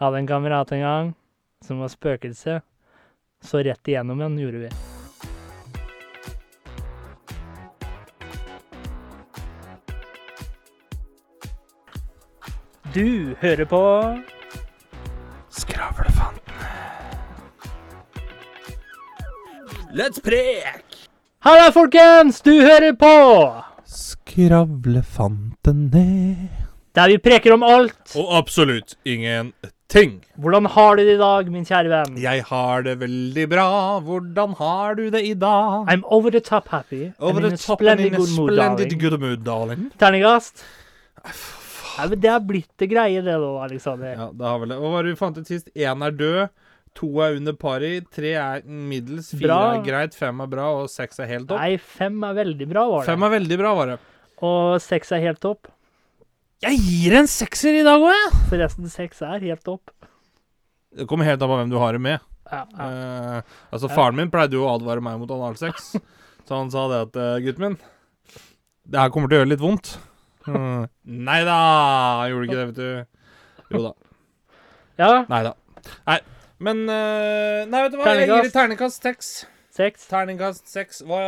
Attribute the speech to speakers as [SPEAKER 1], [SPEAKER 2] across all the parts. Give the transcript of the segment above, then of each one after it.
[SPEAKER 1] Hadde en kamerat en gang som var spøkelse. Så rett igjennom en, gjorde vi. Du hører på
[SPEAKER 2] Skravlefantene. Let's prek!
[SPEAKER 1] Halla, folkens! Du hører på!
[SPEAKER 2] Skravlefantene.
[SPEAKER 1] Der vi preker om alt.
[SPEAKER 2] Og absolutt ingenting.
[SPEAKER 1] Hvordan har du det i dag, min kjære venn?
[SPEAKER 2] Jeg har det veldig bra. Hvordan har du det i dag?
[SPEAKER 1] I'm over the top happy.
[SPEAKER 2] Over
[SPEAKER 1] and
[SPEAKER 2] the
[SPEAKER 1] in a
[SPEAKER 2] top and in a
[SPEAKER 1] good mood,
[SPEAKER 2] splendid
[SPEAKER 1] darling.
[SPEAKER 2] good mood, darling.
[SPEAKER 1] Terningkast? Ja, men det har blitt det greie, det da, Alexander.
[SPEAKER 2] Ja, det har vel det. Hva var det vi fant ut sist? Én er død. To er under pari, tre er middels, fire
[SPEAKER 1] Bra.
[SPEAKER 2] er greit, fem er bra, og seks er helt topp.
[SPEAKER 1] Nei, fem er veldig bra, var det.
[SPEAKER 2] Fem er veldig bra, var det.
[SPEAKER 1] Og seks er helt topp.
[SPEAKER 2] Jeg gir en sekser i dag òg, jeg!
[SPEAKER 1] Forresten, seks er helt topp.
[SPEAKER 2] Det kommer helt an på hvem du har det med.
[SPEAKER 1] Ja, ja.
[SPEAKER 2] Eh, altså, faren min pleide jo å advare meg mot analsex, så han sa det at eh, gutten min, det her kommer til å gjøre litt vondt. Mm. Nei da, han gjorde ikke det, vet du. Jo da.
[SPEAKER 1] ja
[SPEAKER 2] Nei da. Nei. Men eh, Nei, vet du hva, jeg gir det terningkast seks.
[SPEAKER 1] seks.
[SPEAKER 2] Terningkast seks. Hva,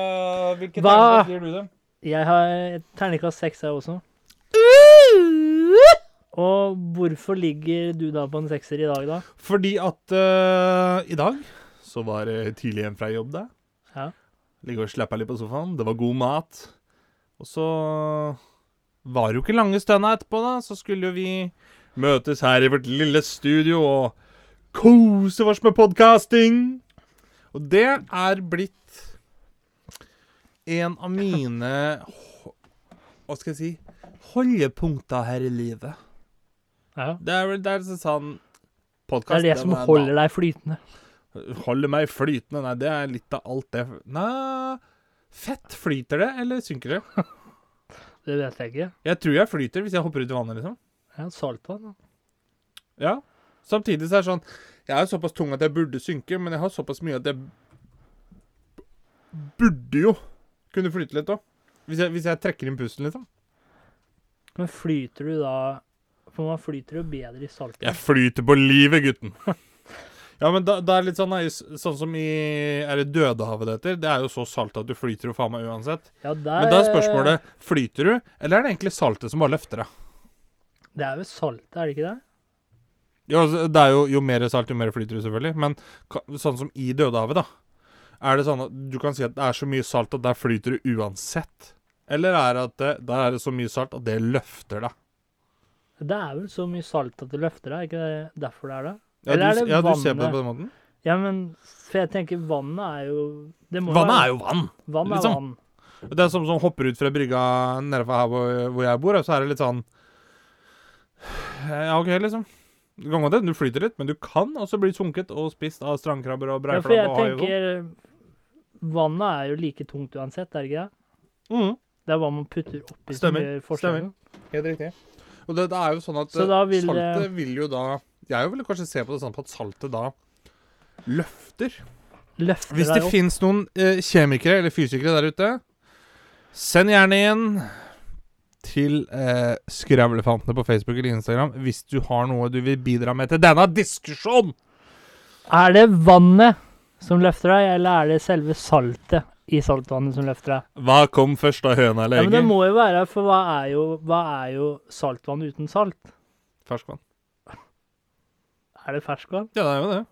[SPEAKER 2] hvilke
[SPEAKER 1] Hva?
[SPEAKER 2] terningkast gir du dem?
[SPEAKER 1] Jeg har terningkast seks, jeg også. Uh! Og hvorfor ligger du da på en sekser i dag, da?
[SPEAKER 2] Fordi at eh, i dag så var det tidlig hjem fra jobb, da.
[SPEAKER 1] Ja.
[SPEAKER 2] Ligge og slappe litt på sofaen. Det var god mat. Og så var det jo ikke lange stønna etterpå, da. Så skulle jo vi møtes her i vårt lille studio og kose oss med podkasting. Og det er blitt en av mine h- Hva skal jeg si holdepunkter her i livet.
[SPEAKER 1] Ja.
[SPEAKER 2] Det er vel det er sånn
[SPEAKER 1] Det
[SPEAKER 2] podkast
[SPEAKER 1] er det som holder deg flytende.
[SPEAKER 2] Holder meg flytende. Nei, det er litt av alt det Nei Fett. Flyter det, eller synker det?
[SPEAKER 1] Det vet jeg ikke.
[SPEAKER 2] Jeg tror jeg flyter hvis jeg hopper ut i vannet, liksom.
[SPEAKER 1] Jeg har saltvann. da.
[SPEAKER 2] Ja. Samtidig så er det sånn Jeg er jo såpass tung at jeg burde synke, men jeg har såpass mye at jeg b- burde jo kunne flyte litt òg. Hvis, jeg- hvis jeg trekker inn pusten, liksom.
[SPEAKER 1] Men flyter du da For man flyter jo bedre i saltvann.
[SPEAKER 2] Jeg flyter på livet, gutten. Ja, men da, da er det litt sånn, nei, s- sånn som i Er det Dødehavet det heter? Det er jo så salt at du flyter jo faen meg uansett.
[SPEAKER 1] Ja, der,
[SPEAKER 2] Men da er spørsmålet flyter du, eller er det egentlig saltet som bare løfter deg?
[SPEAKER 1] Det er jo saltet, er det ikke det?
[SPEAKER 2] Jo, altså, det er jo, jo mer salt, jo mer flyter du, selvfølgelig. Men ka- sånn som i Dødehavet, da. Er det sånn at du kan si at det er så mye salt at der flyter du uansett? Eller er det at det, der er det så mye salt at det løfter deg?
[SPEAKER 1] Det er vel så mye salt at det løfter deg, er ikke det derfor det er det?
[SPEAKER 2] Ja,
[SPEAKER 1] Eller er
[SPEAKER 2] du,
[SPEAKER 1] det
[SPEAKER 2] ja, du ser på det
[SPEAKER 1] vannet?
[SPEAKER 2] på den måten?
[SPEAKER 1] Ja, men For jeg tenker vannet er jo det må
[SPEAKER 2] Vannet er jo vann.
[SPEAKER 1] Vann er
[SPEAKER 2] liksom.
[SPEAKER 1] vann.
[SPEAKER 2] Det er som som hopper ut fra brygga nede fra her hvor, hvor jeg bor, og så er det litt sånn Ja, OK, liksom. Det kan godt hende du flyter litt, men du kan også bli sunket og spist av strandkrabber og
[SPEAKER 1] Ja, for
[SPEAKER 2] breiflabb
[SPEAKER 1] jeg
[SPEAKER 2] og hai og sånn.
[SPEAKER 1] tenker eh, Vannet er jo like tungt uansett, er det ikke det?
[SPEAKER 2] Mm.
[SPEAKER 1] Det er hva man putter oppi som
[SPEAKER 2] Stemmer,
[SPEAKER 1] gjør forskjellen.
[SPEAKER 2] Helt riktig. Og det, det er jo sånn at
[SPEAKER 1] Så da
[SPEAKER 2] eh,
[SPEAKER 1] vil det-
[SPEAKER 2] saltet vil jo da Jeg vil kanskje se på det sånn på at saltet da løfter.
[SPEAKER 1] Løfter
[SPEAKER 2] Hvis det
[SPEAKER 1] deg opp.
[SPEAKER 2] fins noen eh, kjemikere eller fysikere der ute, send gjerne inn til eh, Skravlefantene på Facebook eller Instagram hvis du har noe du vil bidra med til denne diskusjonen!
[SPEAKER 1] Er det vannet som løfter deg, eller er det selve saltet i saltvannet som løfter deg?
[SPEAKER 2] Hva kom først av
[SPEAKER 1] Ja,
[SPEAKER 2] høna eller
[SPEAKER 1] men det må jo være, for hva er jo, hva er jo saltvann uten salt?
[SPEAKER 2] Ferskvann.
[SPEAKER 1] Er det ferskvann?
[SPEAKER 2] Ja, det er jo det.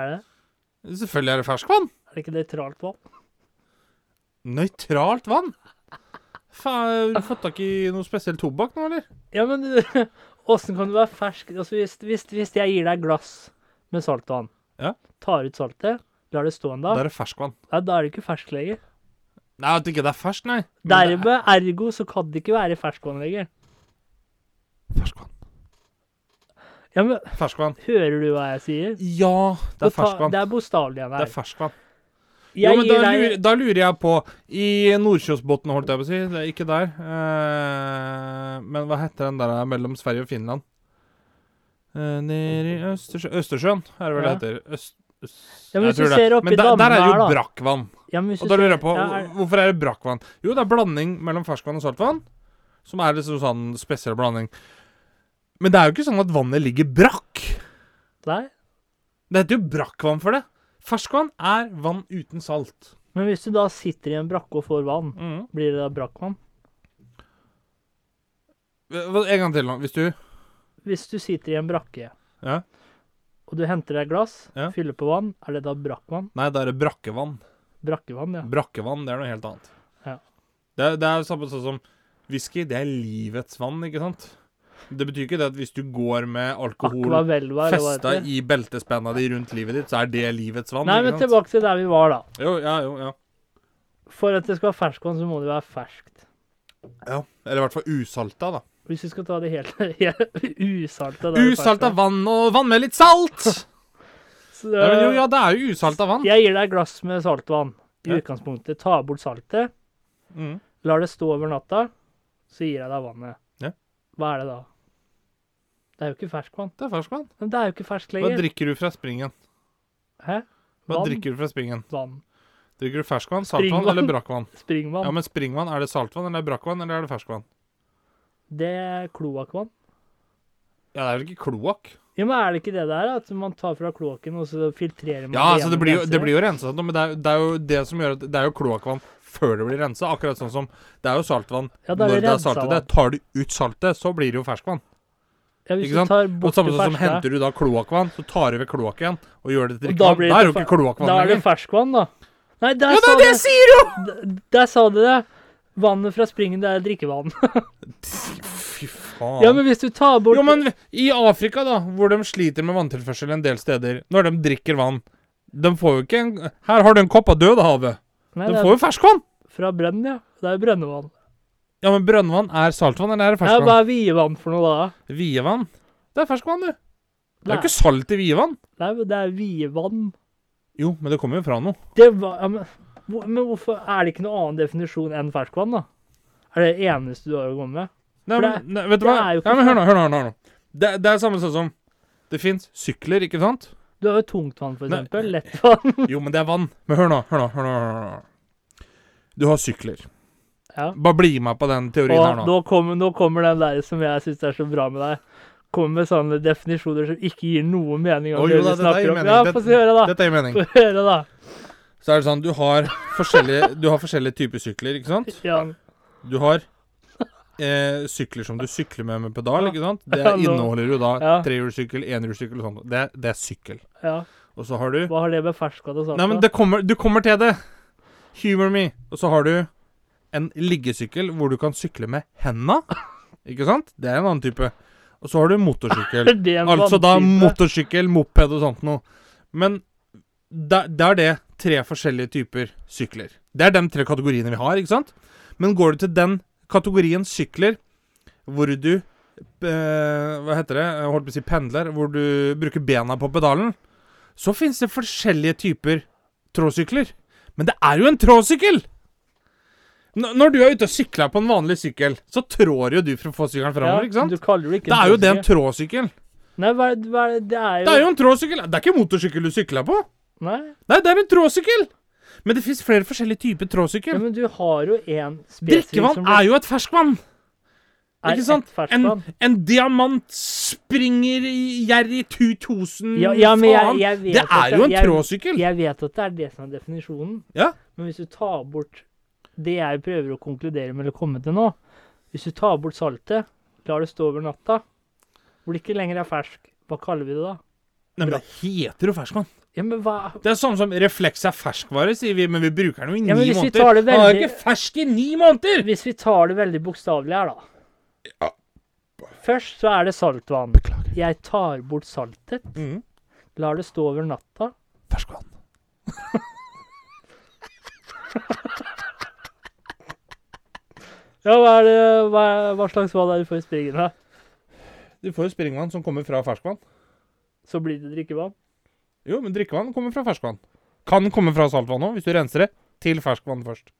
[SPEAKER 1] Er det
[SPEAKER 2] Selvfølgelig er det ferskvann.
[SPEAKER 1] Er det ikke nøytralt vann?
[SPEAKER 2] Nøytralt vann. Faen, har du fått tak i noe spesiell tobakk nå, eller?
[SPEAKER 1] Ja, men åssen kan du være fersk? Altså, hvis, hvis, hvis jeg gir deg et glass med saltvann,
[SPEAKER 2] Ja.
[SPEAKER 1] tar ut saltet, lar det stå en
[SPEAKER 2] Da
[SPEAKER 1] dag,
[SPEAKER 2] er det ferskvann.
[SPEAKER 1] ja, da er det ikke fersk lenger.
[SPEAKER 2] Nei, at ikke det er ferskt, nei. Men det
[SPEAKER 1] Dermed, ergo, så kan det ikke være ferskvann lenger.
[SPEAKER 2] er ferskvann.
[SPEAKER 1] Ja, men
[SPEAKER 2] Ferskvann.
[SPEAKER 1] hører du hva jeg sier?
[SPEAKER 2] Ja, det er
[SPEAKER 1] Ta-
[SPEAKER 2] ferskvann.
[SPEAKER 1] Det er bokstavelig igjen
[SPEAKER 2] Det er
[SPEAKER 1] her.
[SPEAKER 2] ferskvann. Jo,
[SPEAKER 1] Jeg
[SPEAKER 2] men da
[SPEAKER 1] gir
[SPEAKER 2] lurer,
[SPEAKER 1] deg
[SPEAKER 2] da lurer jeg på I Nordkjosbotn, holdt jeg på å si. Det er ikke der. Eh, men hva heter den der eh, mellom Sverige og Finland? Eh, nede i Østersjø, Østersjøen, er det vel det
[SPEAKER 1] Ja.
[SPEAKER 2] heter. Øst, øst,
[SPEAKER 1] Ja, men
[SPEAKER 2] jeg
[SPEAKER 1] hvis du
[SPEAKER 2] tror det.
[SPEAKER 1] ser opp i
[SPEAKER 2] men der, der er det jo
[SPEAKER 1] dammen her, da.
[SPEAKER 2] brakkvann.
[SPEAKER 1] ja, men hvis du
[SPEAKER 2] Og da lurer jeg
[SPEAKER 1] ser-
[SPEAKER 2] på,
[SPEAKER 1] ja, er-
[SPEAKER 2] hvorfor er det brakkvann? Jo, det er blanding mellom ferskvann og saltvann. Som er liksom sånn spesiell blanding. Men det er jo ikke sånn at vannet ligger brakk.
[SPEAKER 1] Nei.
[SPEAKER 2] Det heter jo brakkvann for det. Ferskvann er vann uten salt.
[SPEAKER 1] Men hvis du da sitter i en brakke og får vann, blir det da brakkvann?
[SPEAKER 2] Hva- En gang til, nå, hvis du
[SPEAKER 1] Hvis du sitter i en brakke
[SPEAKER 2] Ja.
[SPEAKER 1] og du henter deg et glass,
[SPEAKER 2] Ja.
[SPEAKER 1] fyller på vann, er det da brakkvann?
[SPEAKER 2] Nei, da er det brakkevann.
[SPEAKER 1] Brakkevann, ja.
[SPEAKER 2] Brakkevann, det er noe helt annet.
[SPEAKER 1] Ja.
[SPEAKER 2] Det, er- det er jo samme sånn som whisky. Det er livets vann, ikke sant? Det betyr ikke det at hvis du går med alkohol
[SPEAKER 1] Aquavelva, eller hva
[SPEAKER 2] festa
[SPEAKER 1] heter det?
[SPEAKER 2] i beltespenna di rundt livet ditt, så er det livets vann.
[SPEAKER 1] Nei,
[SPEAKER 2] ikke
[SPEAKER 1] men
[SPEAKER 2] sant?
[SPEAKER 1] tilbake til der vi var, da.
[SPEAKER 2] Jo, ja, jo, ja.
[SPEAKER 1] For at det skal være ferskvann, så må det være ferskt.
[SPEAKER 2] Eller i hvert fall usalta, da.
[SPEAKER 1] Hvis vi skal ta det helt, helt usalta da er det
[SPEAKER 2] Usalta
[SPEAKER 1] ferskvann.
[SPEAKER 2] vann og vann med litt salt!
[SPEAKER 1] Så det
[SPEAKER 2] Ja,
[SPEAKER 1] er-
[SPEAKER 2] men jo, ja, det er jo usalta vann.
[SPEAKER 1] Jeg gir deg et glass med saltvann. I
[SPEAKER 2] Ja.
[SPEAKER 1] utgangspunktet. Ta bort saltet,
[SPEAKER 2] Mm.
[SPEAKER 1] lar det stå over natta, så gir jeg deg vannet.
[SPEAKER 2] Ja.
[SPEAKER 1] Hva er det da? Det er jo ikke ferskvann.
[SPEAKER 2] Det er ferskvann.
[SPEAKER 1] Men det er jo ikke ferskt
[SPEAKER 2] Hva
[SPEAKER 1] lenger.
[SPEAKER 2] drikker du fra springen?
[SPEAKER 1] Hæ?
[SPEAKER 2] Hva
[SPEAKER 1] Vann.
[SPEAKER 2] drikker du fra springen?
[SPEAKER 1] Vann.
[SPEAKER 2] Drikker du ferskvann, saltvann
[SPEAKER 1] Springvann.
[SPEAKER 2] eller brakkvann?
[SPEAKER 1] Springvann.
[SPEAKER 2] Ja, men springvann, er det saltvann eller er det brakkvann eller er det ferskvann?
[SPEAKER 1] Det er kloakkvann.
[SPEAKER 2] Ja, det er vel ikke kloakk?
[SPEAKER 1] Ja, men er det ikke det der? At man tar fra kloakken, og så filtrerer man
[SPEAKER 2] Ja,
[SPEAKER 1] det
[SPEAKER 2] altså det
[SPEAKER 1] gjennom
[SPEAKER 2] blir jo, det
[SPEAKER 1] rensere?
[SPEAKER 2] blir jo rensa, men det er, det er jo det som gjør at det er jo kloakkvann før det blir rensa. Akkurat sånn som det er jo saltvann
[SPEAKER 1] Ja, da er
[SPEAKER 2] når
[SPEAKER 1] det
[SPEAKER 2] det er
[SPEAKER 1] rensa
[SPEAKER 2] saltet.
[SPEAKER 1] vann.
[SPEAKER 2] Tar du ut saltet, så blir det jo ferskvann.
[SPEAKER 1] Ja, hvis
[SPEAKER 2] ikke
[SPEAKER 1] du
[SPEAKER 2] sant?
[SPEAKER 1] tar
[SPEAKER 2] Og
[SPEAKER 1] bort
[SPEAKER 2] samme
[SPEAKER 1] det
[SPEAKER 2] sånn som
[SPEAKER 1] ferske,
[SPEAKER 2] henter du da kloakkvann, så tar du ved kloakken og gjør det til
[SPEAKER 1] Og da
[SPEAKER 2] drikkevann.
[SPEAKER 1] blir
[SPEAKER 2] Da er det jo
[SPEAKER 1] det
[SPEAKER 2] ikke kloakkvann
[SPEAKER 1] da er det
[SPEAKER 2] lenger.
[SPEAKER 1] ferskvann, da. Nei, der
[SPEAKER 2] Ja, det
[SPEAKER 1] sa
[SPEAKER 2] er det jeg sier, jo!
[SPEAKER 1] D- Der sa du det! Vannet fra springen, det er drikkevann.
[SPEAKER 2] Fy faen.
[SPEAKER 1] Ja, men hvis du tar bort
[SPEAKER 2] Jo, men i Afrika, da, hvor de sliter med vanntilførsel en del steder, når de drikker vann De får jo ikke en Her har du en kopp av Dødehavet.
[SPEAKER 1] Nei,
[SPEAKER 2] De
[SPEAKER 1] det er
[SPEAKER 2] får jo ferskvann.
[SPEAKER 1] fra brønnen, ja. Det er jo brønnevann.
[SPEAKER 2] Ja, men brønnvann er saltvann, eller er det
[SPEAKER 1] Ja,
[SPEAKER 2] ferskvann?
[SPEAKER 1] hva er vievann for noe, da?
[SPEAKER 2] Vievann. Det er ferskvann, du. Det er
[SPEAKER 1] Nei,
[SPEAKER 2] jo ikke salt i vievann.
[SPEAKER 1] nei, men det er vievann.
[SPEAKER 2] Jo, men det kommer jo fra noe.
[SPEAKER 1] Det var ja, men, hvor, men hvorfor er det ikke noen annen definisjon enn ferskvann, da? Er det det eneste du har å komme med?
[SPEAKER 2] Nei,
[SPEAKER 1] For
[SPEAKER 2] men,
[SPEAKER 1] det-
[SPEAKER 2] nei, vet du
[SPEAKER 1] det
[SPEAKER 2] hva?
[SPEAKER 1] er jo ikke
[SPEAKER 2] Nei, men hør nå, hør nå. hør nå, hør nå. Det, det er samme sånn som Det fins sykler, ikke sant?
[SPEAKER 1] Du har jo tungtvann, for
[SPEAKER 2] Nei.
[SPEAKER 1] eksempel. Lettvann.
[SPEAKER 2] Jo, men det er vann. Men hør nå, hør nå. hør nå, hør nå, hør nå. Du har sykler.
[SPEAKER 1] Ja.
[SPEAKER 2] Bare bli med på den teorien her
[SPEAKER 1] Og
[SPEAKER 2] nå.
[SPEAKER 1] nå kommer, nå kommer den der som jeg syns er så bra med deg. Kommer med sånne definisjoner som ikke gir noe mening. om
[SPEAKER 2] Å,
[SPEAKER 1] det
[SPEAKER 2] jo da,
[SPEAKER 1] du
[SPEAKER 2] det der
[SPEAKER 1] snakker
[SPEAKER 2] gir
[SPEAKER 1] om.
[SPEAKER 2] mening.
[SPEAKER 1] Ja,
[SPEAKER 2] Det-
[SPEAKER 1] Få se høre, da.
[SPEAKER 2] Dette gir mening.
[SPEAKER 1] Få høre, da.
[SPEAKER 2] Så er det sånn, du har forskjellige, du har forskjellige typer sykler, ikke sant?
[SPEAKER 1] Ja,
[SPEAKER 2] Du har eh, sykler som du sykler med med pedal, ikke sant? Det
[SPEAKER 1] Ja, nå-
[SPEAKER 2] inneholder jo da
[SPEAKER 1] Ja.
[SPEAKER 2] trehjulssykkel, enhjulssykkel og sånt. Det, det er sykkel.
[SPEAKER 1] ja.
[SPEAKER 2] Og så har du
[SPEAKER 1] Hva har det med ferskvann å
[SPEAKER 2] Nei,
[SPEAKER 1] gjøre?
[SPEAKER 2] men det kommer, du kommer til det. Humor me. Og så har du en liggesykkel hvor du kan sykle med henda. Ikke sant? Det er en annen type. Og så har du motorsykkel.
[SPEAKER 1] Er det en
[SPEAKER 2] Altså da
[SPEAKER 1] vanntype?
[SPEAKER 2] motorsykkel, moped og sånt noe. Men da- det er det tre forskjellige typer sykler. Det er de tre kategoriene vi har, ikke sant? Men går du til den kategorien sykler hvor du eh, Hva heter det? Jeg holdt på å si pendler. Hvor du bruker bena på pedalen. Så fins det forskjellige typer tråsykler. Men det er jo en tråsykkel! N- Når du er ute og sykler på en vanlig sykkel, så trår jo du for å få sykkelen framover,
[SPEAKER 1] Ja,
[SPEAKER 2] ikke sant?
[SPEAKER 1] Du kaller det ikke
[SPEAKER 2] Det
[SPEAKER 1] en
[SPEAKER 2] er jo det en
[SPEAKER 1] tråsykkel.
[SPEAKER 2] tråsykkel.
[SPEAKER 1] Nei, hva er det, hva er det, det er jo
[SPEAKER 2] Det er jo en tråsykkel. Det er ikke motorsykkel du sykler på.
[SPEAKER 1] Nei,
[SPEAKER 2] Nei, det er en tråsykkel. Men det fins flere forskjellige typer
[SPEAKER 1] ja,
[SPEAKER 2] tråsykkel.
[SPEAKER 1] men du har jo en spesifikk
[SPEAKER 2] Drikkevann er jo et ferskvann.
[SPEAKER 1] er
[SPEAKER 2] ikke sant?
[SPEAKER 1] et
[SPEAKER 2] En,
[SPEAKER 1] ferskvann.
[SPEAKER 2] en diamant springer i gjerrig 2000
[SPEAKER 1] Ja, ja, men jeg,
[SPEAKER 2] mm, faen.
[SPEAKER 1] jeg vet
[SPEAKER 2] Det
[SPEAKER 1] at
[SPEAKER 2] er jo en
[SPEAKER 1] jeg,
[SPEAKER 2] tråsykkel.
[SPEAKER 1] Jeg vet at det er det som er definisjonen.
[SPEAKER 2] Ja.
[SPEAKER 1] Men hvis du tar bort det jeg prøver å konkludere med eller komme til nå Hvis du tar bort saltet, lar det stå over natta, hvor det ikke lenger er fersk, hva kaller vi det da?
[SPEAKER 2] Nei, men det heter jo ferskvann.
[SPEAKER 1] Ja, men hva
[SPEAKER 2] Det er samme som refleks er ferskvare, sier vi, men vi bruker den jo i
[SPEAKER 1] Ja, men
[SPEAKER 2] ni
[SPEAKER 1] hvis vi
[SPEAKER 2] måneder.
[SPEAKER 1] tar det
[SPEAKER 2] Den er jo
[SPEAKER 1] veldig-
[SPEAKER 2] ikke fersk i ni måneder!
[SPEAKER 1] Hvis vi tar det veldig bokstavelig her, da. Først så er det saltvann. Jeg tar bort saltet,
[SPEAKER 2] Mhm.
[SPEAKER 1] lar det stå over natta.
[SPEAKER 2] Ferskvann.
[SPEAKER 1] Ja, hva, er det, hva, hva slags vann er det du får i springen? da?
[SPEAKER 2] Du får jo springvann som kommer fra ferskvann.
[SPEAKER 1] Så blir det drikkevann?
[SPEAKER 2] Jo, men drikkevann kommer fra ferskvann. Kan komme fra saltvann òg, hvis du renser det til ferskvann først.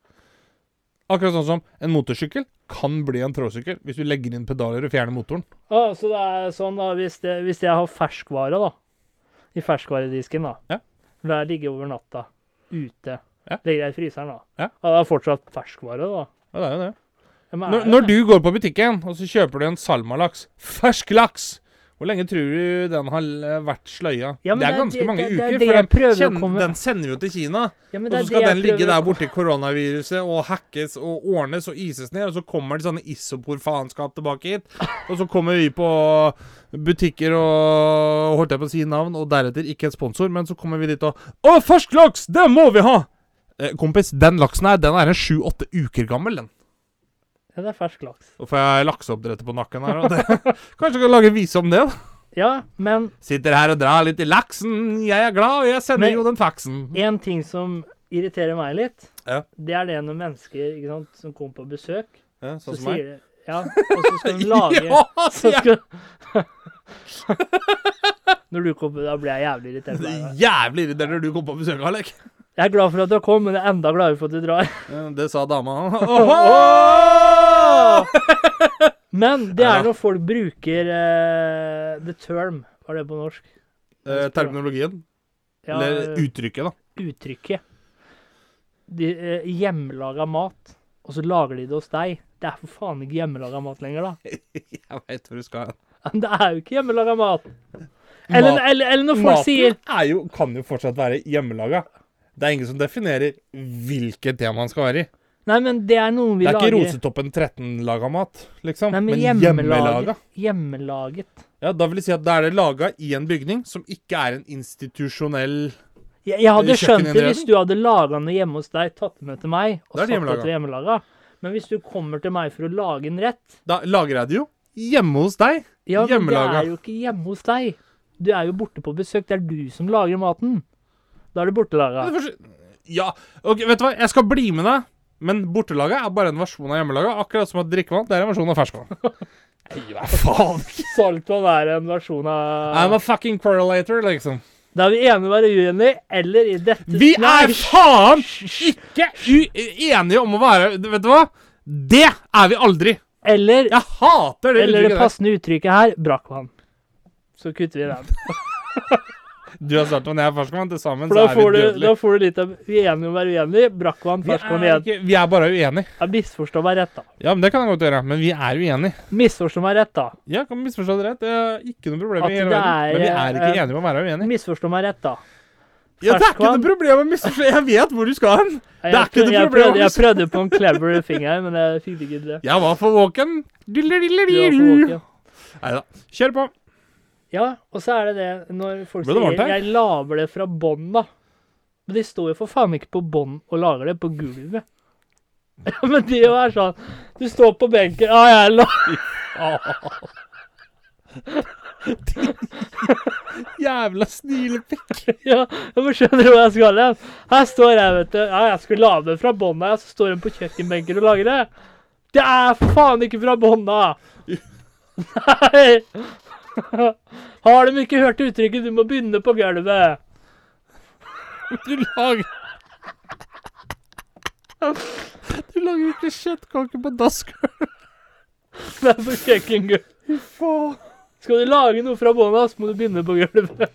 [SPEAKER 2] Akkurat sånn som en motorsykkel kan bli en tråsykkel hvis du legger inn pedaler og fjerner motoren.
[SPEAKER 1] Å, så det er sånn, da, hvis, det, hvis jeg har ferskvare, da. I ferskvaredisken, da.
[SPEAKER 2] Ja.
[SPEAKER 1] Lar jeg ligge over natta. Ute.
[SPEAKER 2] Ja.
[SPEAKER 1] Legger jeg i fryseren, da.
[SPEAKER 2] Ja.
[SPEAKER 1] det er fortsatt ferskvare, da.
[SPEAKER 2] Ja, det er jo det.
[SPEAKER 1] Ja, men er
[SPEAKER 2] Når,
[SPEAKER 1] det
[SPEAKER 2] når
[SPEAKER 1] det?
[SPEAKER 2] du går på butikken og så kjøper du en salmalaks, fersk laks, Hvor lenge tror du den har l- vært sløya?
[SPEAKER 1] Ja, men
[SPEAKER 2] det
[SPEAKER 1] det
[SPEAKER 2] er
[SPEAKER 1] er
[SPEAKER 2] ganske
[SPEAKER 1] det-
[SPEAKER 2] mange
[SPEAKER 1] det- det er
[SPEAKER 2] uker.
[SPEAKER 1] det
[SPEAKER 2] for
[SPEAKER 1] jeg
[SPEAKER 2] den,
[SPEAKER 1] prøver å
[SPEAKER 2] kjen-
[SPEAKER 1] komme-
[SPEAKER 2] den sender vi jo til Kina.
[SPEAKER 1] Ja, men
[SPEAKER 2] Og
[SPEAKER 1] det er
[SPEAKER 2] så skal
[SPEAKER 1] det jeg
[SPEAKER 2] den ligge
[SPEAKER 1] prøver å
[SPEAKER 2] der borte i koronaviruset og hackes og ordnes og ises ned. Og så kommer det sånne isopor-faenskap tilbake hit. Og så kommer vi på butikker og holdt jeg på å si navn, og deretter ikke en sponsor, men så kommer vi dit og Å, fersk laks! Det må vi ha! Eh, kompis, den laksen her, den er en sju-åtte uker gammel, den.
[SPEAKER 1] Ja, det er fersk laks.
[SPEAKER 2] Og får jeg lakseoppdretter på nakken her. Og det. Kanskje jeg kan lage en vise om det? da.
[SPEAKER 1] Ja, men
[SPEAKER 2] Sitter her og drar litt i laksen. Jeg er glad, og jeg sender
[SPEAKER 1] Men-
[SPEAKER 2] jo den faksen.
[SPEAKER 1] en ting som irriterer meg litt,
[SPEAKER 2] Ja.
[SPEAKER 1] det er det når mennesker ikke sant, som kommer på besøk,
[SPEAKER 2] Ja,
[SPEAKER 1] så sier de Ja, og så skal de lage
[SPEAKER 2] Sånn Ja,
[SPEAKER 1] så
[SPEAKER 2] sier jeg.
[SPEAKER 1] skal... Når du kommer, da blir jeg jævlig irritert. på
[SPEAKER 2] Det
[SPEAKER 1] deg.
[SPEAKER 2] er jævlig irriterende når du kom på besøk, Alek.
[SPEAKER 1] Jeg er glad for at du kom, men jeg er enda gladere for at du drar.
[SPEAKER 2] Det sa dama. Eh,
[SPEAKER 1] Men det
[SPEAKER 2] Ja.
[SPEAKER 1] er når folk bruker eh, the term, hva er det på norsk?
[SPEAKER 2] Eh, terminologien.
[SPEAKER 1] Ja,
[SPEAKER 2] Eller uttrykket, da.
[SPEAKER 1] uttrykket. De, eh, hjemmelaga mat, og så lager de det hos deg. Det er for faen ikke hjemmelaga mat lenger, da.
[SPEAKER 2] Jeg veit hvor du skal.
[SPEAKER 1] Men det er jo ikke hjemmelaga mat. Eller,
[SPEAKER 2] Mat-
[SPEAKER 1] eller, eller når folk sier
[SPEAKER 2] er jo, kan jo fortsatt være hjemmelaga. Det er ingen som definerer hvilket tema den skal være i.
[SPEAKER 1] Nei, men det er noe vi
[SPEAKER 2] Det er ikke
[SPEAKER 1] lager
[SPEAKER 2] Rosetoppen 13-laga mat, liksom.
[SPEAKER 1] Nei, men,
[SPEAKER 2] men hjemmelaga.
[SPEAKER 1] hjemmelaget, hjemmelaget.
[SPEAKER 2] Ja, Da vil jeg si at da er det laga i en bygning som ikke er en institusjonell
[SPEAKER 1] Jeg, jeg hadde skjønt det
[SPEAKER 2] Kjøkkeninnredning?
[SPEAKER 1] hvis du hadde laga noe hjemme hos deg, tatt det med til meg, og
[SPEAKER 2] Da er
[SPEAKER 1] sagt
[SPEAKER 2] det
[SPEAKER 1] at det er hjemmelaga. Men hvis du kommer til meg for å lage en rett
[SPEAKER 2] Da lager jeg det jo hjemme hos deg.
[SPEAKER 1] Ja, men det
[SPEAKER 2] Hjemmelaga.
[SPEAKER 1] er jo ikke hjemme hos deg. Du er jo borte på besøk. Det er du som lager maten. Da er det bortelaga.
[SPEAKER 2] Ja, det forstår- Ja, ok, vet du hva? Jeg skal bli med deg, men bortelaget er bare en versjon av hjemmelaget. Akkurat som at drikkevann det er en versjon av ferskvann. Nei, hva faen?
[SPEAKER 1] Saltvann er en versjon
[SPEAKER 2] I'm
[SPEAKER 1] av
[SPEAKER 2] a fucking correlator, liksom.
[SPEAKER 1] Da er vi enige om å være uenige, eller i dette
[SPEAKER 2] Vi
[SPEAKER 1] Nei,
[SPEAKER 2] er faen ikke uenige om å være Vet du hva? Det er vi aldri.
[SPEAKER 1] Eller,
[SPEAKER 2] Jeg hater det
[SPEAKER 1] eller det
[SPEAKER 2] uttrykket der.
[SPEAKER 1] passende uttrykket her brakkvann. Så kutter vi den.
[SPEAKER 2] Du har startvann, jeg har ferskvann. Til sammen
[SPEAKER 1] For
[SPEAKER 2] så
[SPEAKER 1] da
[SPEAKER 2] er vi
[SPEAKER 1] får, du, da
[SPEAKER 2] dødelige.
[SPEAKER 1] får du litt av Vi er enige om å være uenige. Brakkvann,
[SPEAKER 2] Vi
[SPEAKER 1] ferskvann
[SPEAKER 2] er,
[SPEAKER 1] igjen.
[SPEAKER 2] ikke, vi er bare uenige.
[SPEAKER 1] Ja, misforstå meg rett, da.
[SPEAKER 2] Ja, men Det kan jeg godt gjøre. Men vi er uenige.
[SPEAKER 1] Misforstå meg rett, da.
[SPEAKER 2] Ja, kan misforstå det rett. Det er ikke noe problem
[SPEAKER 1] At
[SPEAKER 2] i hele
[SPEAKER 1] det
[SPEAKER 2] verden.
[SPEAKER 1] er,
[SPEAKER 2] Men vi er
[SPEAKER 1] eh,
[SPEAKER 2] ikke enige om å være uenige.
[SPEAKER 1] Misforstå meg rett, da.
[SPEAKER 2] Ja, det er ikke
[SPEAKER 1] Ferskvann.
[SPEAKER 2] noe problem å misforstå. Jeg vet hvor du skal hen.
[SPEAKER 1] Jeg,
[SPEAKER 2] Det er ikke
[SPEAKER 1] prøv-
[SPEAKER 2] noe
[SPEAKER 1] jeg,
[SPEAKER 2] problem.
[SPEAKER 1] prøvde, jeg prøvde på en clever thing her, men jeg fikk det ikke til.
[SPEAKER 2] Jeg var for våken.
[SPEAKER 1] Du var for våken.
[SPEAKER 2] Nei da. Kjør på.
[SPEAKER 1] Ja, og så er det det når folk
[SPEAKER 2] Ble det varmt
[SPEAKER 1] sier
[SPEAKER 2] her?
[SPEAKER 1] 'jeg lager det fra bånn', da. Men de står jo for faen ikke på bånn og lager det på gulvet. Ja, men det jo er sånn Du står på benken Ja, jeg la
[SPEAKER 2] Jævla snilepikk.
[SPEAKER 1] ja, Jeg må skjønner du hvor jeg skal hen? Her står jeg, vet du. Ja, jeg skulle lage det fra bånn av, så står hun på kjøkkenbenken og lager det. Det er faen ikke fra bånn av! Nei! Har de ikke hørt uttrykket 'du må begynne på gulvet'?
[SPEAKER 2] Du lager Du lager jo ikke kjøttkaker på dasskøl.
[SPEAKER 1] Det er på kjøkkengulvet. Skal du lage noe fra bånn av, så må du begynne på gulvet.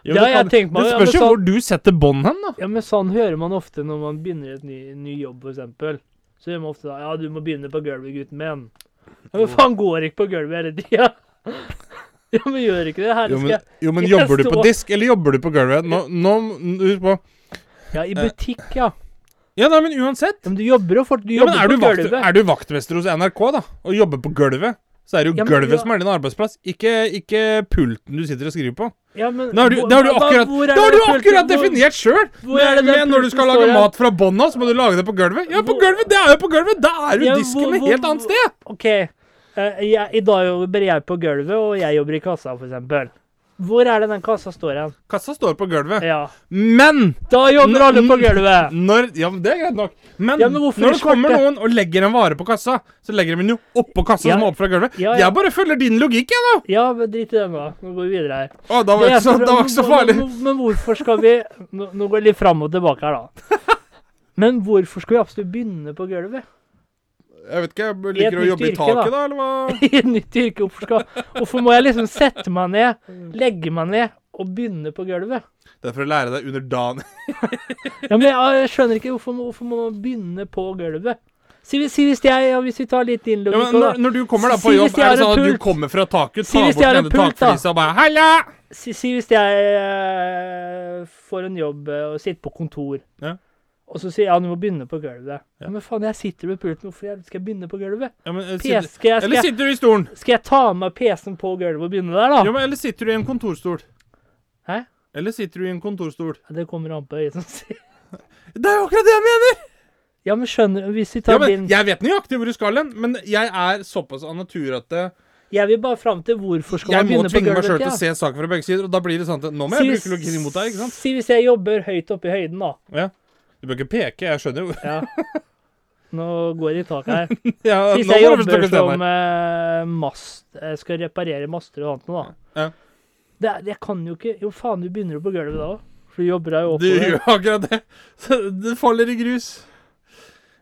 [SPEAKER 1] Ja,
[SPEAKER 2] det,
[SPEAKER 1] jeg tenkte meg-
[SPEAKER 2] det
[SPEAKER 1] ja,
[SPEAKER 2] spørs
[SPEAKER 1] men
[SPEAKER 2] jo
[SPEAKER 1] sånn-
[SPEAKER 2] hvor du setter bånd hen, da.
[SPEAKER 1] Ja, men sånn hører man ofte når man begynner et ny, ny jobb, for eksempel. Så hører man ofte da Ja, du må begynne på gulvet, gutten min. Ja, men faen, går ikke på gulvet hele tida? Ja, men gjør ikke det. Her
[SPEAKER 2] Jo,
[SPEAKER 1] skal
[SPEAKER 2] men,
[SPEAKER 1] jeg
[SPEAKER 2] jo, men
[SPEAKER 1] Jeg
[SPEAKER 2] jobber du på
[SPEAKER 1] står-
[SPEAKER 2] disk, eller jobber du på gulvet? Nå, nå Husk på
[SPEAKER 1] Ja,
[SPEAKER 2] eh.
[SPEAKER 1] i butikk, ja.
[SPEAKER 2] Ja, nei, men uansett.
[SPEAKER 1] ja men du jobber jo fort. Du
[SPEAKER 2] Ja, men
[SPEAKER 1] jobber
[SPEAKER 2] er du,
[SPEAKER 1] på
[SPEAKER 2] vakt,
[SPEAKER 1] gulvet.
[SPEAKER 2] er du vaktmester hos NRK, da, og jobber på gulvet, så er det jo
[SPEAKER 1] Ja, men
[SPEAKER 2] gulvet
[SPEAKER 1] ja.
[SPEAKER 2] som er din arbeidsplass, ikke, ikke pulten du sitter og skriver på.
[SPEAKER 1] Ja, men
[SPEAKER 2] Da har du,
[SPEAKER 1] hvor-
[SPEAKER 2] da har du
[SPEAKER 1] hva-
[SPEAKER 2] akkurat,
[SPEAKER 1] hvor er
[SPEAKER 2] da har
[SPEAKER 1] det
[SPEAKER 2] du
[SPEAKER 1] pulten-
[SPEAKER 2] akkurat
[SPEAKER 1] hvor-
[SPEAKER 2] definert sjøl!
[SPEAKER 1] hvor er det den
[SPEAKER 2] Men når du
[SPEAKER 1] pulten
[SPEAKER 2] skal
[SPEAKER 1] står
[SPEAKER 2] lage
[SPEAKER 1] hen?
[SPEAKER 2] mat fra bånn av, så må du lage det på gulvet. Ja, på gulvet! Det er jo på gulvet! Da er jo
[SPEAKER 1] Ja,
[SPEAKER 2] disken
[SPEAKER 1] hvor-
[SPEAKER 2] et helt
[SPEAKER 1] hvor-
[SPEAKER 2] annet sted!
[SPEAKER 1] OK. eh, jeg, I dag jobber jeg på gulvet, og jeg jobber i kassa, for eksempel. Hvor er det den kassa står hen?
[SPEAKER 2] Kassa står på gulvet.
[SPEAKER 1] Ja.
[SPEAKER 2] Men
[SPEAKER 1] Da jobber alle på
[SPEAKER 2] N-
[SPEAKER 1] gulvet!
[SPEAKER 2] når Ja, men det er greit nok. Men,
[SPEAKER 1] Ja, men hvorfor
[SPEAKER 2] når det
[SPEAKER 1] i svarte?
[SPEAKER 2] kommer noen og legger en vare på kassa, så legger de den jo oppå kassa
[SPEAKER 1] Ja.
[SPEAKER 2] som er opp fra gulvet.
[SPEAKER 1] Ja, ja.
[SPEAKER 2] Jeg bare følger din logikk, jeg, nå.
[SPEAKER 1] Ja, men drit i den, da. Nå går vi videre her.
[SPEAKER 2] Å, da var sånn det ikke så,
[SPEAKER 1] Det er- sånn
[SPEAKER 2] da var ikke så farlig.
[SPEAKER 1] Men, men hvorfor skal vi nå, nå går jeg litt fram og tilbake her, da. Men hvorfor skal vi absolutt begynne på gulvet?
[SPEAKER 2] Jeg vet ikke, jeg
[SPEAKER 1] I et
[SPEAKER 2] liker å
[SPEAKER 1] nytt
[SPEAKER 2] jobbe i
[SPEAKER 1] yrke,
[SPEAKER 2] taket,
[SPEAKER 1] da.
[SPEAKER 2] da, eller hva?
[SPEAKER 1] I et nytt yrke? Hvorfor, skal, hvorfor må jeg liksom sette meg ned, legge meg ned og begynne på gulvet?
[SPEAKER 2] Det er for å lære deg under dagen.
[SPEAKER 1] Ja, men jeg, jeg skjønner ikke hvorfor, hvorfor må man begynne på gulvet. Si, si hvis jeg, ja, hvis vi tar litt
[SPEAKER 2] Ja,
[SPEAKER 1] innlogg
[SPEAKER 2] men
[SPEAKER 1] på
[SPEAKER 2] når,
[SPEAKER 1] det.
[SPEAKER 2] når du kommer da på
[SPEAKER 1] Si
[SPEAKER 2] jobb,
[SPEAKER 1] hvis jeg har
[SPEAKER 2] er det
[SPEAKER 1] en
[SPEAKER 2] sånn at du
[SPEAKER 1] pult.
[SPEAKER 2] kommer fra taket,
[SPEAKER 1] Si
[SPEAKER 2] tar
[SPEAKER 1] hvis jeg
[SPEAKER 2] bort
[SPEAKER 1] har en
[SPEAKER 2] denne
[SPEAKER 1] pult, da.
[SPEAKER 2] takflisa og bare 'Halla!'
[SPEAKER 1] Si, si hvis jeg eh, får en jobb eh, og sitter på kontor,
[SPEAKER 2] Ja.
[SPEAKER 1] og så sier jeg ja, du må begynne på gulvet.
[SPEAKER 2] Ja.
[SPEAKER 1] Ja. Men faen, jeg sitter ved pulten, hvorfor jeg skal jeg begynne på gulvet?
[SPEAKER 2] Ja, men, eh,
[SPEAKER 1] PC,
[SPEAKER 2] sitter,
[SPEAKER 1] skal, jeg,
[SPEAKER 2] eller
[SPEAKER 1] skal, jeg,
[SPEAKER 2] sitter du i stolen?
[SPEAKER 1] skal jeg ta med PC-en på gulvet og begynne der, da?
[SPEAKER 2] Ja, men, eller sitter du i en kontorstol?
[SPEAKER 1] Ah. Hæ?
[SPEAKER 2] Eller sitter du i en kontorstol?
[SPEAKER 1] Ja, Det kommer an på øyet som sier
[SPEAKER 2] Det er jo akkurat det jeg mener!
[SPEAKER 1] Ja, men skjønner du, hvis vi tar
[SPEAKER 2] Ja, men,
[SPEAKER 1] din jeg,
[SPEAKER 2] jeg vet nøyaktig hvor du skal hen, men jeg er såpass av natur at eh,
[SPEAKER 1] vil bare fram til hvorfor skal
[SPEAKER 2] jeg
[SPEAKER 1] man
[SPEAKER 2] må
[SPEAKER 1] begynne på
[SPEAKER 2] tvinge meg
[SPEAKER 1] gulvet.
[SPEAKER 2] sjøl til å se saken fra begge sider, og da blir det sånn at nå må jeg bruke logikken imot deg, ikke sant?
[SPEAKER 1] Si hvis jeg jobber høyt oppe i høyden, da.
[SPEAKER 2] Ja. Du bør ikke peke, jeg skjønner jo.
[SPEAKER 1] Ja. Nå går det i taket her.
[SPEAKER 2] Ja, nå
[SPEAKER 1] Hvis
[SPEAKER 2] må
[SPEAKER 1] jeg
[SPEAKER 2] du
[SPEAKER 1] jobber
[SPEAKER 2] forstå hva
[SPEAKER 1] som
[SPEAKER 2] jeg mener.
[SPEAKER 1] eh, mast, jeg skal reparere master og annet noe, da.
[SPEAKER 2] Ja.
[SPEAKER 1] Det, er- jeg kan jo ikke Jo, faen, du begynner jo på gulvet da òg. For du jobber deg jo
[SPEAKER 2] Du
[SPEAKER 1] oppover.
[SPEAKER 2] gjør akkurat det. Så det faller i grus.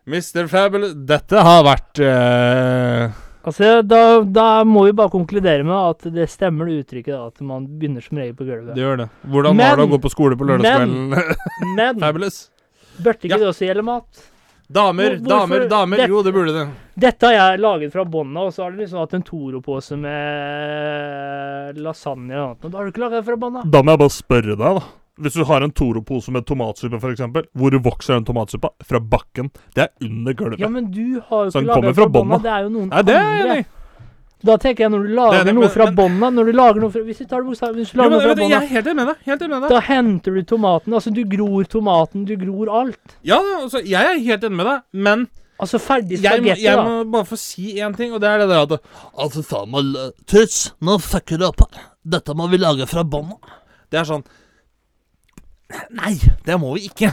[SPEAKER 2] Mr. Fabulous Dette har vært eh,
[SPEAKER 1] Altså, da, da må vi bare konkludere med at det stemmer det uttrykket, da. At man begynner som regel på gulvet.
[SPEAKER 2] Det gjør det. Hvordan var det å
[SPEAKER 1] Men-
[SPEAKER 2] gå på skole på
[SPEAKER 1] men-
[SPEAKER 2] lørdagskvelden?
[SPEAKER 1] Men
[SPEAKER 2] Fabulous.
[SPEAKER 1] burde ikke
[SPEAKER 2] Ja.
[SPEAKER 1] det også gjelde mat?
[SPEAKER 2] Damer,
[SPEAKER 1] Hvor- hvorfor-
[SPEAKER 2] damer, damer.
[SPEAKER 1] det-
[SPEAKER 2] Jo, det burde det.
[SPEAKER 1] Dette har jeg laget fra bånn av, og så har du liksom hatt en Toro-pose med lasagne og annet. Men da har du ikke laget det fra bånn av.
[SPEAKER 2] Da må jeg bare spørre deg, da. Hvis du har en Toro-pose med tomatsuppe, f.eks., hvor vokser den tomatsuppa? Fra bakken. Det er under gulvet.
[SPEAKER 1] Ja, men du har jo
[SPEAKER 2] Så
[SPEAKER 1] ikke
[SPEAKER 2] den
[SPEAKER 1] laget
[SPEAKER 2] kommer
[SPEAKER 1] det
[SPEAKER 2] fra
[SPEAKER 1] fra bånn
[SPEAKER 2] bånn
[SPEAKER 1] av.
[SPEAKER 2] av.
[SPEAKER 1] Det er jo noen
[SPEAKER 2] Nei, det er jeg
[SPEAKER 1] andre.
[SPEAKER 2] enig i.
[SPEAKER 1] Da tenker jeg når du
[SPEAKER 2] Det
[SPEAKER 1] lager
[SPEAKER 2] er det,
[SPEAKER 1] noe
[SPEAKER 2] men-
[SPEAKER 1] fra
[SPEAKER 2] men-
[SPEAKER 1] bånn av når du lager noe fra, Hvis du tar det bokstavelig hvis du
[SPEAKER 2] Jo,
[SPEAKER 1] lager
[SPEAKER 2] men,
[SPEAKER 1] noe fra
[SPEAKER 2] vet du,
[SPEAKER 1] bånn
[SPEAKER 2] jeg
[SPEAKER 1] av,
[SPEAKER 2] er helt enig med deg. Helt enig med deg.
[SPEAKER 1] da henter du tomaten. Altså, du gror tomaten, du gror alt.
[SPEAKER 2] Ja, altså, jeg er helt enig med deg, men
[SPEAKER 1] Altså ferdig
[SPEAKER 2] jeg, må,
[SPEAKER 1] spagetti,
[SPEAKER 2] jeg
[SPEAKER 1] da.
[SPEAKER 2] må bare få si én ting, og det er det der at
[SPEAKER 3] Altså, faen meg l- Tuss, nå fucker du opp. Dette må vi lage fra bånn av.
[SPEAKER 2] Det er sånn Nei, det må vi ikke.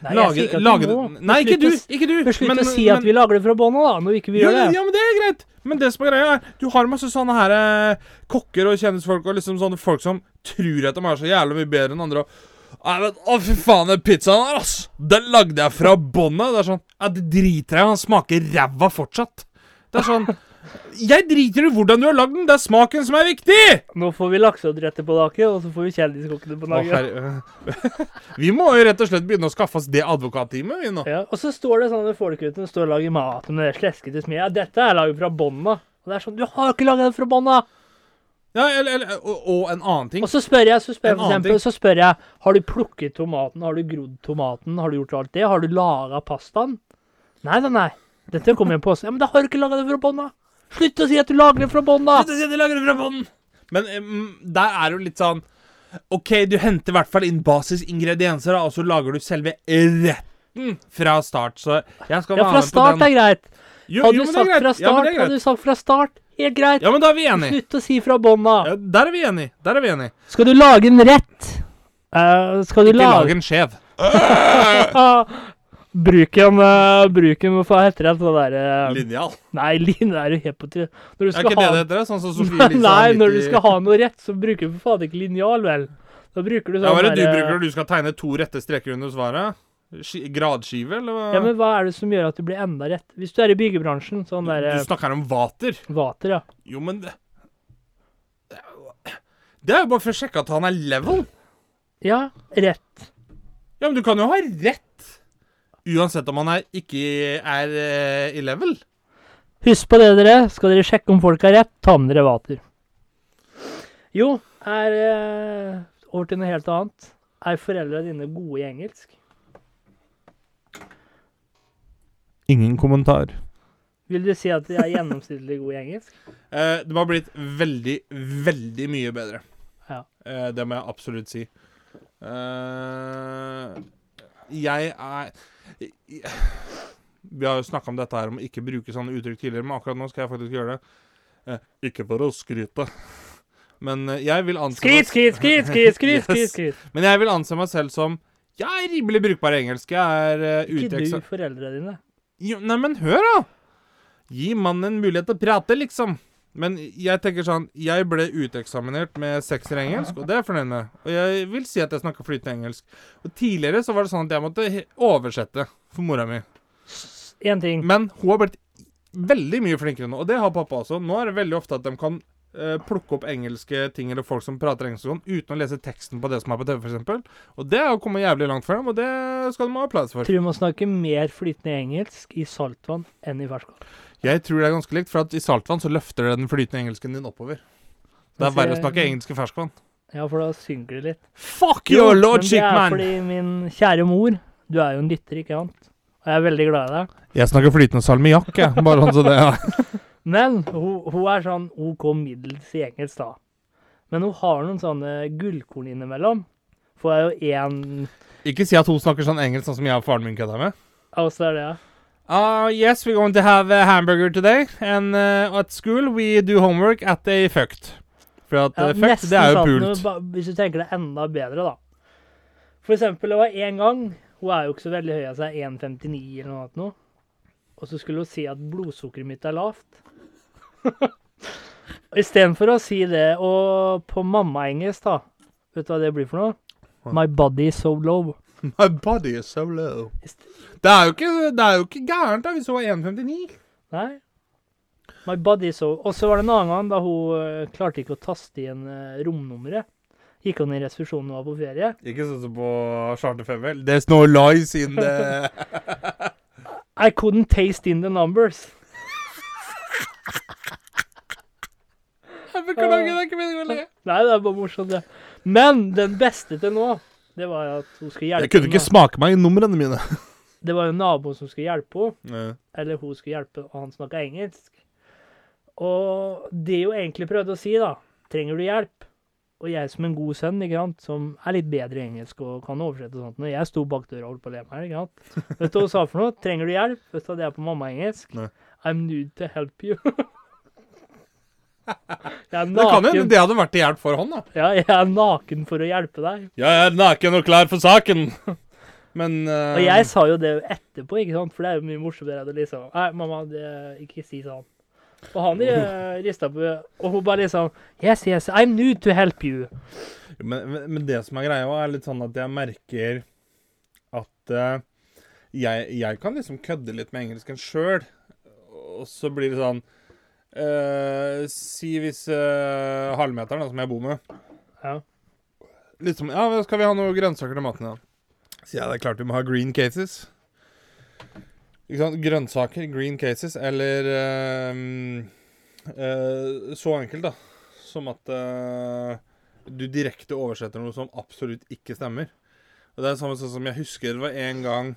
[SPEAKER 1] Nei, jeg
[SPEAKER 2] lage
[SPEAKER 1] sier ikke at
[SPEAKER 2] lage
[SPEAKER 1] du må.
[SPEAKER 2] Nei, ikke du. Ikke du.
[SPEAKER 1] Slutt å- Slutt å si at vi lager det fra bånn av, da, når ikke vi
[SPEAKER 2] ja,
[SPEAKER 1] gjør det.
[SPEAKER 2] ja, men det er greit. Men det som er greia, er du har masse sånne her eh, kokker og kjendisfolk og liksom sånne folk som tror at de er så jævlig mye bedre enn andre. Og, Nei, men, å, fy faen, den pizzaen her, ass! Den lagde jeg fra bånn av. Det er sånn Ja, det driter jeg i. Han smaker ræva fortsatt. Det er sånn Jeg driter i hvordan du har lagd den. Det er smaken som er viktig!
[SPEAKER 1] Nå får vi lakseoddretter på taket, og så får vi kjendiskokkene på
[SPEAKER 2] Å,
[SPEAKER 1] taket.
[SPEAKER 2] herre- vi må jo rett og slett begynne å skaffe oss det advokatteamet, vi nå.
[SPEAKER 1] Ja, og så står det sånne folk ute som står og lager mat med det sleskete smilet. Ja, dette er laget fra bånda. Og det er sånn, du har ikke laget det fra bånda!
[SPEAKER 2] Ja, eller, eller, og, og en annen ting.
[SPEAKER 1] Og så spør jeg, så spør jeg
[SPEAKER 2] En
[SPEAKER 1] for
[SPEAKER 2] annen
[SPEAKER 1] eksempel,
[SPEAKER 2] ting.
[SPEAKER 1] så spør jeg, har du plukket tomaten, har du grodd tomaten, har du gjort alt det, har du laget pastaen? Nei, nei, nei. Dette kommer i en påse. Ja, men da har du ikke laget det fra bånda! Slutt å si at du lager det fra bånda!
[SPEAKER 2] Slutt å si at de lager det fra bånn! Men em, der er det jo litt sånn OK, du henter i hvert fall inn basisingredienser, da, og så lager du selve retten fra start. Så jeg skal
[SPEAKER 1] Mm. Ja, fra
[SPEAKER 2] være med på
[SPEAKER 1] start
[SPEAKER 2] den.
[SPEAKER 1] er greit.
[SPEAKER 2] Jo,
[SPEAKER 1] Hadde
[SPEAKER 2] jo,
[SPEAKER 1] du
[SPEAKER 2] men det
[SPEAKER 1] sagt fra
[SPEAKER 2] er greit. Ja,
[SPEAKER 1] start,
[SPEAKER 2] men det er
[SPEAKER 1] hadde
[SPEAKER 2] greit.
[SPEAKER 1] du sagt fra start, helt greit.
[SPEAKER 2] Ja, men da er vi enige.
[SPEAKER 1] Slutt å si fra bånda.
[SPEAKER 2] Ja, der er vi enige. Der er vi enige.
[SPEAKER 1] Skal du lage en rett? Eh, skal du
[SPEAKER 2] Ikke
[SPEAKER 1] lage...
[SPEAKER 2] lag en skjev.
[SPEAKER 1] Ah, Bruk en, eh, bruk en Hva heter det? Sånn der, eh,
[SPEAKER 2] Linjal.
[SPEAKER 1] Nei, lin er jo helt på trynet. Når du
[SPEAKER 2] Er
[SPEAKER 1] skal
[SPEAKER 2] ikke det
[SPEAKER 1] ha
[SPEAKER 2] det heter? det? Sånn som Sofie Elise
[SPEAKER 1] Nei,
[SPEAKER 2] har
[SPEAKER 1] når
[SPEAKER 2] midt
[SPEAKER 1] du
[SPEAKER 2] i-
[SPEAKER 1] skal ha noe rett, så bruker du for faen ikke linjal, vel. Da bruker du sånn
[SPEAKER 2] Ja, Hva er det du
[SPEAKER 1] der, eh,
[SPEAKER 2] bruker når du skal tegne to rette streker under svaret? Ski- Gradskive, eller hva?
[SPEAKER 1] Ja, men hva er det som gjør at du blir enda rett? Hvis du er i byggebransjen, sånn der
[SPEAKER 2] Du
[SPEAKER 1] eh,
[SPEAKER 2] snakker om vater.
[SPEAKER 1] vater, ja.
[SPEAKER 2] Jo, men det Det er jo bare for å sjekke at han er level.
[SPEAKER 1] Ja, rett.
[SPEAKER 2] Ja, men du kan jo ha rett. Uansett om han er, ikke er eh, i level.
[SPEAKER 1] Husk på det, dere. Skal dere sjekke om folk har rett, ta med dere vater. Jo, er eh, Over til noe helt annet. Er foreldra dine gode i engelsk?
[SPEAKER 2] Ingen kommentar.
[SPEAKER 1] Vil du si at de er gjennomsnittlig gode i engelsk?
[SPEAKER 2] Eh, de har blitt veldig, veldig mye bedre.
[SPEAKER 1] Ja.
[SPEAKER 2] Eh, det må jeg absolutt si. Eh, jeg er Vi har jo snakka om dette her om å ikke bruke sånne uttrykk tidligere, men akkurat nå skal jeg faktisk gjøre det. Eh, ikke for å skryte, men eh, jeg vil anse
[SPEAKER 1] Skryt, skryt, skryt, skryt, skryt, skryt,
[SPEAKER 2] Yes.
[SPEAKER 1] skryt.
[SPEAKER 2] Men jeg vil anse meg selv som Jeg er rimelig brukbar i engelsk. Jeg er eh, ute
[SPEAKER 1] Ikke
[SPEAKER 2] i
[SPEAKER 1] du,
[SPEAKER 2] eksa-
[SPEAKER 1] foreldrene dine.
[SPEAKER 2] Jo, Nei, men hør, da! Gi mannen en mulighet til å prate, liksom. Men jeg tenker sånn Jeg ble uteksaminert med sekser i engelsk, og det er jeg fornøyd med. Og jeg vil si at jeg snakker flytende engelsk. Og tidligere så var det sånn at jeg måtte he- oversette for mora mi.
[SPEAKER 1] Én ting.
[SPEAKER 2] Men hun har blitt veldig mye flinkere nå, og det har pappa også. Nå er det veldig ofte at de kan eh, plukke opp engelske ting eller folk som prater engelsk og sånn, uten å lese teksten på det som er på TV, f.eks. Og det er å komme jævlig langt frem, og det skal de ha applaus for.
[SPEAKER 1] Tror du må snakke mer flytende engelsk i saltvann enn i ferskvann.
[SPEAKER 2] Jeg tror det er ganske likt, for at i saltvann så løfter det den flytende engelsken din oppover. Det er
[SPEAKER 1] Mens
[SPEAKER 2] verre å
[SPEAKER 1] jeg-
[SPEAKER 2] snakke engelsk i ferskvann.
[SPEAKER 1] Altså, Ja, for da synger det litt.
[SPEAKER 2] Fuck your logic,
[SPEAKER 1] Men
[SPEAKER 2] man!
[SPEAKER 1] det er fordi min kjære mor Du er jo en lytter, ikke sant? Og jeg er veldig glad i deg.
[SPEAKER 2] Jeg snakker flytende salmiakk, jeg. Bare sånn så det er.
[SPEAKER 1] Men hun, hun er sånn OK middels i engelsk, da. Men hun har noen sånne gullkorn innimellom. For jeg er jo én
[SPEAKER 2] Ikke si at hun snakker sånn engelsk sånn som jeg og faren min kødda med.
[SPEAKER 1] Altså, det er det, ja.
[SPEAKER 2] Uh, yes, we're going to have a hamburger today, and uh, at school we do homework at a fucked. For at
[SPEAKER 1] Ja,
[SPEAKER 2] uh, fucked,
[SPEAKER 1] nesten
[SPEAKER 2] det er jo
[SPEAKER 1] sånn,
[SPEAKER 2] pult.
[SPEAKER 1] når du ba- Hvis du tenker deg enda bedre, da. For eksempel, det var en gang Hun er jo ikke så veldig høy av seg, 1,59 eller noe annet nå. Og så skulle hun si at blodsukkeret mitt er lavt. Istedenfor å si det, og på mammaengelsk, da Vet du hva det blir for noe?
[SPEAKER 2] Hva?
[SPEAKER 1] My body is so low.
[SPEAKER 2] My body is so low.
[SPEAKER 1] Ist-
[SPEAKER 2] Det er jo ikke, det er jo ikke gærent da, hvis hun var 1,59.
[SPEAKER 1] Nei. My body is so Og så var det en annen gang da hun eh, klarte ikke å taste igjen eh, romnummeret. Gikk hun i resepsjonen og var på ferie.
[SPEAKER 2] Ikke sånn som på Charter 5, vel? There's no lies in the
[SPEAKER 1] I couldn't taste in the numbers.
[SPEAKER 2] Jeg Beklager, det er ikke meningen å le.
[SPEAKER 1] Nei, det er bare morsomt, det. Men den beste til nå, det var at hun skulle hjelpe
[SPEAKER 2] Jeg kunne ikke
[SPEAKER 1] henne.
[SPEAKER 2] smake meg i numrene mine.
[SPEAKER 1] Det var jo naboen som skulle hjelpe henne, eller hun skulle hjelpe, og han snakka engelsk. Og det hun egentlig prøvde å si, da Trenger du hjelp? Og jeg som en god sønn, ikke sant, som er litt bedre i engelsk og kan oversette og sånt, når jeg sto bak døra og holdt på å le meg her, ikke sant. Vet du hva hun sa for noe? Trenger du hjelp? Vet du hva det er på mammaengelsk?
[SPEAKER 2] Nei.
[SPEAKER 1] I'm nude to help you. jeg er
[SPEAKER 2] Det kan hende
[SPEAKER 1] naken.
[SPEAKER 2] det hadde vært til hjelp for han, da.
[SPEAKER 1] Ja, jeg er naken for å hjelpe deg.
[SPEAKER 2] Jeg er naken og klar for saken. Men eh,
[SPEAKER 1] Og jeg sa jo det etterpå, ikke sant? for det er jo mye morsommere enn å liksom Nei, mamma, det, ikke si sånn. Og han uh, rista på Og hun bare liksom Yes, yes, I'm new to help you.
[SPEAKER 2] Men, men, men det som er greia, er litt sånn at jeg merker at eh, jeg, jeg kan liksom kødde litt med engelsken sjøl. Og så blir det sånn eh, Si hvis uh, halvmeteren, da, som jeg bor med
[SPEAKER 1] Ja.
[SPEAKER 2] Litt som Ja, men skal vi ha noe grønnsaker til maten, da? Sier jeg det er klart vi må ha green cases. Ikke sant? Grønnsaker, green cases, eller eh, eh, Så enkelt, da, som at eh, du direkte oversetter noe som absolutt ikke stemmer. Og Det er samme sånn som jeg husker det var en gang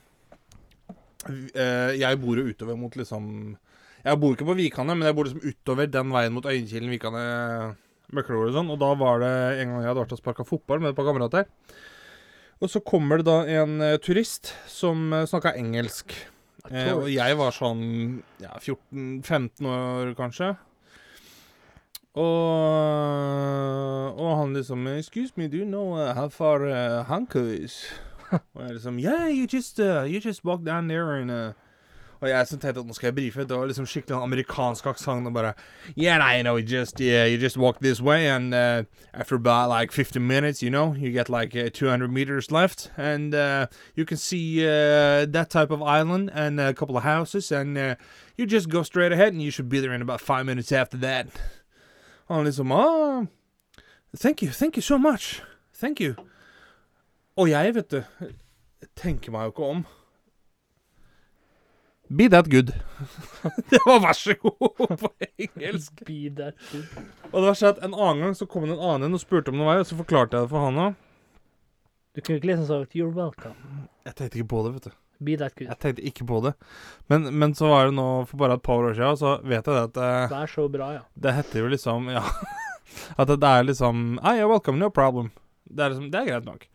[SPEAKER 2] eh, Jeg bor jo utover mot liksom Jeg bor ikke på Vikane, men jeg bor liksom utover den veien mot Øyenkilen, Vikane, Møkleord og sånn. Og da var det en gang jeg hadde vært og sparka fotball med et par kamerater. Og så kommer det da en eh, turist som uh, snakka engelsk. Eh, og jeg var sånn ja, 14-15 år, kanskje. Og, og han liksom Excuse me, do you know uh, how far uh, Hanko is? og jeg liksom Yeah, you just, uh, you just walk down there and uh, Og jeg som tenkte at nå skal jeg brife, det var liksom skikkelig sånn amerikansk aksent og bare Yeah, I know, you just, yeah, you just walk this way and uh, after about like 50 minutes, you know, you get like uh, 200 meters left and uh, you can see uh, that type of island and a couple of houses and uh, you just go straight ahead and you should be there in about five minutes after that. Han liksom ah, Thank you, thank you so much. Thank you. Oh, Og jeg, vet du, tenker meg jo ikke om. Be that good. det var vær så god på engelsk.
[SPEAKER 1] Be that good.
[SPEAKER 2] Og det var sånn at en annen gang så kom det en annen inn og spurte om noe vei, og så forklarte jeg det for han òg.
[SPEAKER 1] Du kunne ikke liksom sagt You're welcome.
[SPEAKER 2] Jeg tenkte ikke på det, vet du.
[SPEAKER 1] Be that good.
[SPEAKER 2] Jeg tenkte ikke på det. Men, men så var det nå for bare et par år siden, og så vet jeg det at eh,
[SPEAKER 1] Vær så bra, ja.
[SPEAKER 2] Det heter jo liksom Ja. At det er liksom Ah, you're welcome, no problem. Det er, liksom, det er greit nok.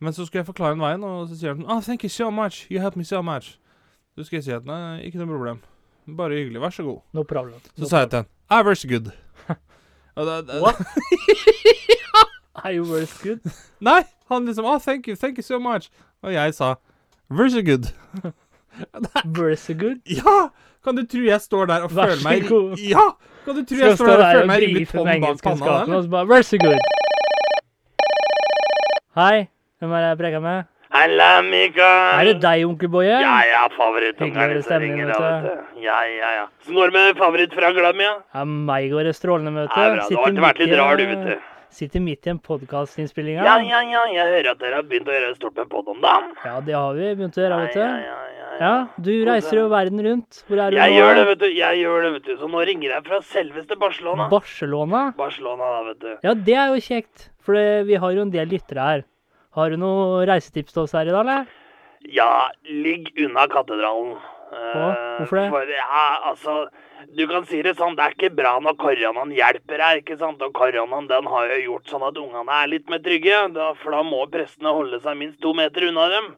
[SPEAKER 2] Men så skulle jeg forklare en veien, og så sier han Oh, thank you so much. You helped me so much. Så skal jeg si at nei, ikke noe problem. Bare hyggelig. Vær så god.
[SPEAKER 1] No problem.
[SPEAKER 2] Så
[SPEAKER 1] No
[SPEAKER 2] sa jeg til han Ah, very good. Og da- da-
[SPEAKER 1] What? Are you very good?
[SPEAKER 2] Nei! Han liksom Ah, thank you. Thank you so much. Og jeg sa Very good.
[SPEAKER 1] Very so good?
[SPEAKER 2] Ja! Kan du tro jeg står der og
[SPEAKER 1] Vær
[SPEAKER 2] føler
[SPEAKER 1] så
[SPEAKER 2] meg
[SPEAKER 1] god.
[SPEAKER 2] Ja! Kan du tro
[SPEAKER 1] Skal
[SPEAKER 2] jeg
[SPEAKER 1] stå
[SPEAKER 2] står der og
[SPEAKER 1] der
[SPEAKER 2] føler
[SPEAKER 1] og
[SPEAKER 2] meg rimelig
[SPEAKER 1] brife
[SPEAKER 2] tom
[SPEAKER 1] med
[SPEAKER 2] bak panna?
[SPEAKER 1] altså. engelskkunnskapene,
[SPEAKER 2] eller?
[SPEAKER 1] og så bare Very so good. Hei, hvem er det jeg preker med?
[SPEAKER 4] Halla, Mikael.
[SPEAKER 1] Er det deg, onkel Boje?
[SPEAKER 4] Ja, ja, favorittungeren
[SPEAKER 1] Hyggelig
[SPEAKER 4] din som
[SPEAKER 1] stemning,
[SPEAKER 4] ringer,
[SPEAKER 1] vet
[SPEAKER 4] da,
[SPEAKER 1] du.
[SPEAKER 4] vet du. Ja, ja, ja. Snor med favoritt fra Glam, ja.
[SPEAKER 1] Ja, meg går det strålende, vet du.
[SPEAKER 4] Ja, bra. Du har alltid vært litt
[SPEAKER 1] i-
[SPEAKER 4] rar, du, vet du.
[SPEAKER 1] Sitter midt i en podkastinnspilling
[SPEAKER 4] Ja, ja, ja, jeg hører at dere har begynt å gjøre stort med podden, da.
[SPEAKER 1] ja, det har vi begynt å gjøre,
[SPEAKER 4] Ja,
[SPEAKER 1] vet du.
[SPEAKER 4] ja, ja, ja, ja.
[SPEAKER 1] Ja, du reiser jo verden rundt. Hvor er du
[SPEAKER 4] Jeg
[SPEAKER 1] nå?
[SPEAKER 4] gjør det, vet du. Jeg gjør det, vet du. Så nå ringer jeg fra selveste Barcelona.
[SPEAKER 1] Barcelona?
[SPEAKER 4] Barcelona, da, vet du.
[SPEAKER 1] Ja, det er jo kjekt. For det- vi har jo en del lyttere her. Har du noen reisetips til oss her i dag, eller?
[SPEAKER 4] Ja, ligg unna katedralen. Eh,
[SPEAKER 1] Hå? Hvorfor det?
[SPEAKER 4] For, ja, altså... Du kan si det sånn, det er ikke bra når koronaen hjelper deg, ikke sant? Og koronaen, den har jo gjort sånn at ungene er litt mer trygge, da, for da må prestene holde seg minst to meter unna dem.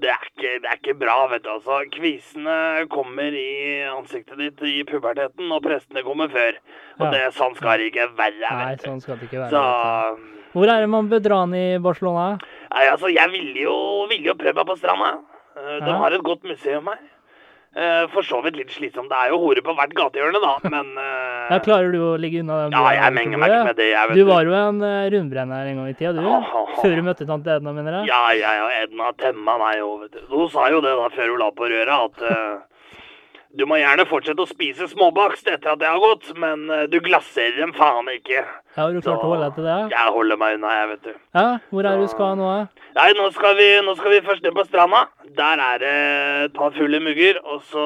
[SPEAKER 4] Det er ikke, det er ikke bra, vet du, altså. Kvisene kommer i ansiktet ditt i puberteten, og prestene kommer før. Og
[SPEAKER 1] Ja.
[SPEAKER 4] det, sånn skal det ikke være,
[SPEAKER 1] Nei,
[SPEAKER 4] vet du.
[SPEAKER 1] sånn skal det ikke være.
[SPEAKER 4] Så...
[SPEAKER 1] vet du. Hvor er det man bør dra ned i Barcelona?
[SPEAKER 4] Nei, altså, jeg ville jo, ville jo prøvd meg på stranda. Eh, De
[SPEAKER 1] Ja.
[SPEAKER 4] har et godt museum her. Eh, For så vidt litt slitsomt. Det er jo horer på hvert gatehjørne, da, men eh,
[SPEAKER 1] Ja, Klarer du å ligge unna den?
[SPEAKER 4] Ja, jeg menger meg ikke med det, jeg, vet
[SPEAKER 1] Du var jo en eh, rundbrenner en gang i tida, du.
[SPEAKER 4] Ja, ja, ja.
[SPEAKER 1] Før du møtte tante Edna, mener jeg.
[SPEAKER 4] Ja, ja, ja. Edna temma meg jo, vet du. Hun sa jo det da, før hun la på røret, at eh, du må gjerne fortsette å spise småbakst etter at det har gått, men eh, du glasserer dem faen ikke.
[SPEAKER 1] Har du klart å holde deg til det?
[SPEAKER 4] Jeg holder meg unna, jeg, vet du.
[SPEAKER 1] Ja, Hvor er det du skal nå? da?
[SPEAKER 4] Nei, nå skal vi, nå skal vi først ned på stranda. Der er det et par fulle mugger, og så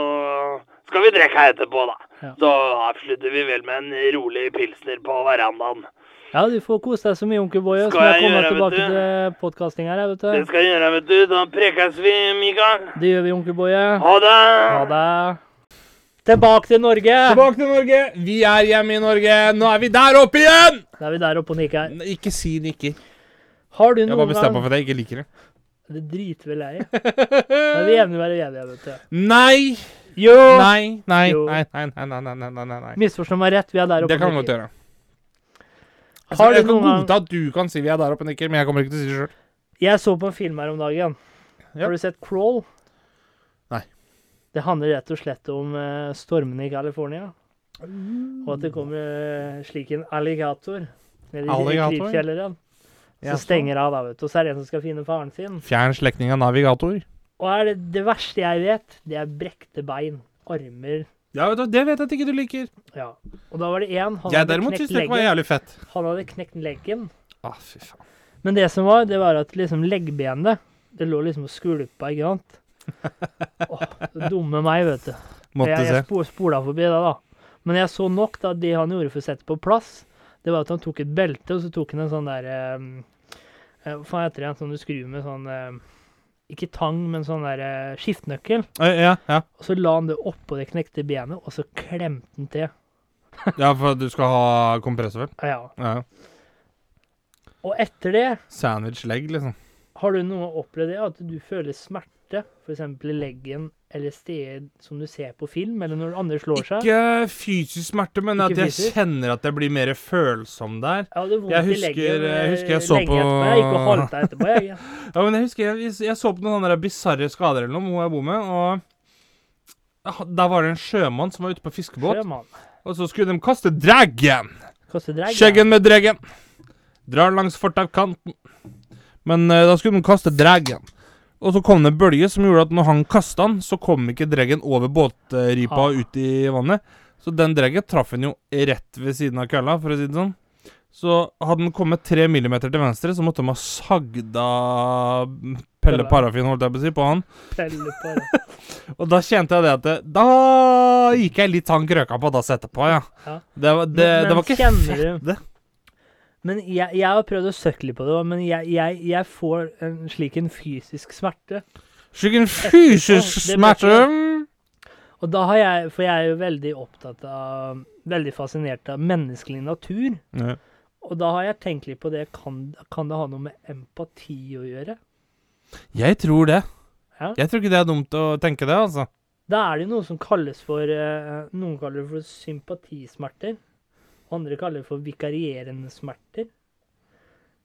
[SPEAKER 4] skal vi drikke her etterpå, da.
[SPEAKER 1] Ja.
[SPEAKER 4] Så avslutter vi vel med en rolig pilsner på verandaen.
[SPEAKER 1] Ja, du får kose deg så mye, onkel Boje. Så
[SPEAKER 4] Skal
[SPEAKER 1] må jeg
[SPEAKER 4] jeg
[SPEAKER 1] komme
[SPEAKER 4] gjøre,
[SPEAKER 1] tilbake
[SPEAKER 4] vet du?
[SPEAKER 1] til podkasting her, jeg,
[SPEAKER 4] Det
[SPEAKER 1] vet du.
[SPEAKER 4] skal jeg gjøre, vet du. Da prekes vi, Mikael.
[SPEAKER 1] Det gjør vi, onkel Boje.
[SPEAKER 4] Ha det!
[SPEAKER 1] Ha det. Tilbake til Norge!
[SPEAKER 2] Tilbake til Norge. Vi er hjemme i Norge. Nå er vi der oppe igjen!
[SPEAKER 1] Da er vi der oppe og nikker her.
[SPEAKER 2] Nei, Ikke si det ikke.
[SPEAKER 1] Har du
[SPEAKER 2] Jeg bare
[SPEAKER 1] noen
[SPEAKER 2] bestemmer meg
[SPEAKER 1] gang
[SPEAKER 2] for at jeg ikke liker det.
[SPEAKER 1] Det driter vel jeg i. Da er vi enige være enige, vet du.
[SPEAKER 2] Nei,
[SPEAKER 1] Jo!
[SPEAKER 2] nei, nei, nei,
[SPEAKER 1] Jo.
[SPEAKER 2] nei, nei, nei, nei, nei, nei, nei.
[SPEAKER 1] Misforstå meg rett, vi er der oppe.
[SPEAKER 2] Det kan vi
[SPEAKER 1] og
[SPEAKER 2] godt
[SPEAKER 1] nikker.
[SPEAKER 2] gjøre. Altså,
[SPEAKER 1] Har du
[SPEAKER 2] jeg skal
[SPEAKER 1] noen gang-
[SPEAKER 2] godta at du kan si vi er der oppe, Nikker, men jeg kommer ikke til å si det sjøl.
[SPEAKER 1] Jeg så på en film her om dagen.
[SPEAKER 2] Ja.
[SPEAKER 1] Har du sett Crawl?
[SPEAKER 2] Nei.
[SPEAKER 1] Det handler rett og slett om eh, stormene i California. Og at det kommer eh, slik en alligator nede i
[SPEAKER 2] Alligator?
[SPEAKER 1] krypkjelleren. Så stenger av, da, vet du. Og så er det en som skal finne faren sin.
[SPEAKER 2] Fjern slektning av navigator.
[SPEAKER 1] Og er det, det verste jeg vet, det er brekte bein. Armer.
[SPEAKER 2] Ja, vet du, Det vet jeg at ikke du liker.
[SPEAKER 1] Ja. Og da var det én. Han,
[SPEAKER 2] Jeg
[SPEAKER 1] hadde
[SPEAKER 2] derimot syns
[SPEAKER 1] knekt
[SPEAKER 2] det var
[SPEAKER 1] leggen.
[SPEAKER 2] jævlig fett.
[SPEAKER 1] han hadde knekt leggen.
[SPEAKER 2] Ah, fy faen.
[SPEAKER 1] Men det som var, det var at liksom leggbenet Det lå liksom og skvulpa, ikke sant? Åh, dumme meg, vet du.
[SPEAKER 2] Måtte
[SPEAKER 1] jeg, jeg
[SPEAKER 2] se.
[SPEAKER 1] spo- spola forbi det, da. Men jeg så nok da det han gjorde for å sette på plass, det var at han tok et belte, og så tok han en sånn der eh, eh, Hva faen heter det, en sånn du skrur med sånn eh, Ikke tang, men sånn der eh, skiftenøkkel.
[SPEAKER 2] Eh, Ja, ja.
[SPEAKER 1] Og så la han det oppå det knekte benet, og så klemte han til.
[SPEAKER 2] ja, for du skal ha kompressor, vel?
[SPEAKER 1] Ja, Ja.
[SPEAKER 2] Ja.
[SPEAKER 1] Og etter det,
[SPEAKER 2] Sandwich leg, liksom.
[SPEAKER 1] har du noe opplevd det, at du føler smerte, f.eks. i leggen eller steder som du ser på film, eller når andre slår seg?
[SPEAKER 2] Ikke fysisk smerte, men
[SPEAKER 1] Ikke
[SPEAKER 2] at jeg
[SPEAKER 1] fysisk?
[SPEAKER 2] kjenner at jeg blir mer følsom der.
[SPEAKER 1] Jeg hadde vondt
[SPEAKER 2] Jeg
[SPEAKER 1] i leggen
[SPEAKER 2] husker- jeg husker jeg
[SPEAKER 1] eh,
[SPEAKER 2] så
[SPEAKER 1] lenge
[SPEAKER 2] på-
[SPEAKER 1] etterpå. Jeg gikk og halta etterpå, jeg.
[SPEAKER 2] Ja, men Jeg husker jeg, jeg så på noen sånne der bisarre skader eller noe, hun jeg bor med, og Ah, der var det en sjømann som var ute på fiskebåt,
[SPEAKER 1] Sjømann.
[SPEAKER 2] og så skulle de kaste dragen.
[SPEAKER 1] Kaste drag, ja.
[SPEAKER 2] Skjeggen med dragen. Drar langs fortaukanten. Men eh, da skulle de kaste dragen. Og så kom det en bølge som gjorde at når han kasta den, så kom ikke dragen over båtripa
[SPEAKER 1] Ah.
[SPEAKER 2] og ut i vannet. Så den dragen traff han jo rett ved siden av kølla, for å si det sånn. Så hadde den kommet tre millimeter til venstre, så måtte de ha sagda Pelle
[SPEAKER 1] Pelle.
[SPEAKER 2] Parafin, holdt jeg på å si, på han.
[SPEAKER 1] Pelle på det.
[SPEAKER 2] Og da kjente jeg det at det, Da gikk jeg litt tank røka på dass etterpå, ja.
[SPEAKER 1] Ja.
[SPEAKER 2] Det, var- det,
[SPEAKER 1] Men- men
[SPEAKER 2] det var ikke
[SPEAKER 1] kjenner du-
[SPEAKER 2] fett, det.
[SPEAKER 1] Men jeg, jeg har prøvd å søkke litt på det, også, men jeg, jeg, jeg får en slik en fysisk smerte.
[SPEAKER 2] Slik en
[SPEAKER 1] fysisk
[SPEAKER 2] fysisk
[SPEAKER 1] Det ble ikke
[SPEAKER 2] smerte.
[SPEAKER 1] Og da har jeg, For jeg er jo veldig opptatt av Veldig fascinert av menneskelig natur. Og da har jeg tenkt litt på det. Kan, kan det ha noe med empati å gjøre?
[SPEAKER 2] Jeg tror det.
[SPEAKER 1] Ja.
[SPEAKER 2] Jeg tror ikke det er dumt å tenke det, altså.
[SPEAKER 1] Da er det jo noe som kalles for eh, Noen kaller det for sympatismerter. og Andre kaller det for vikarierende smerter.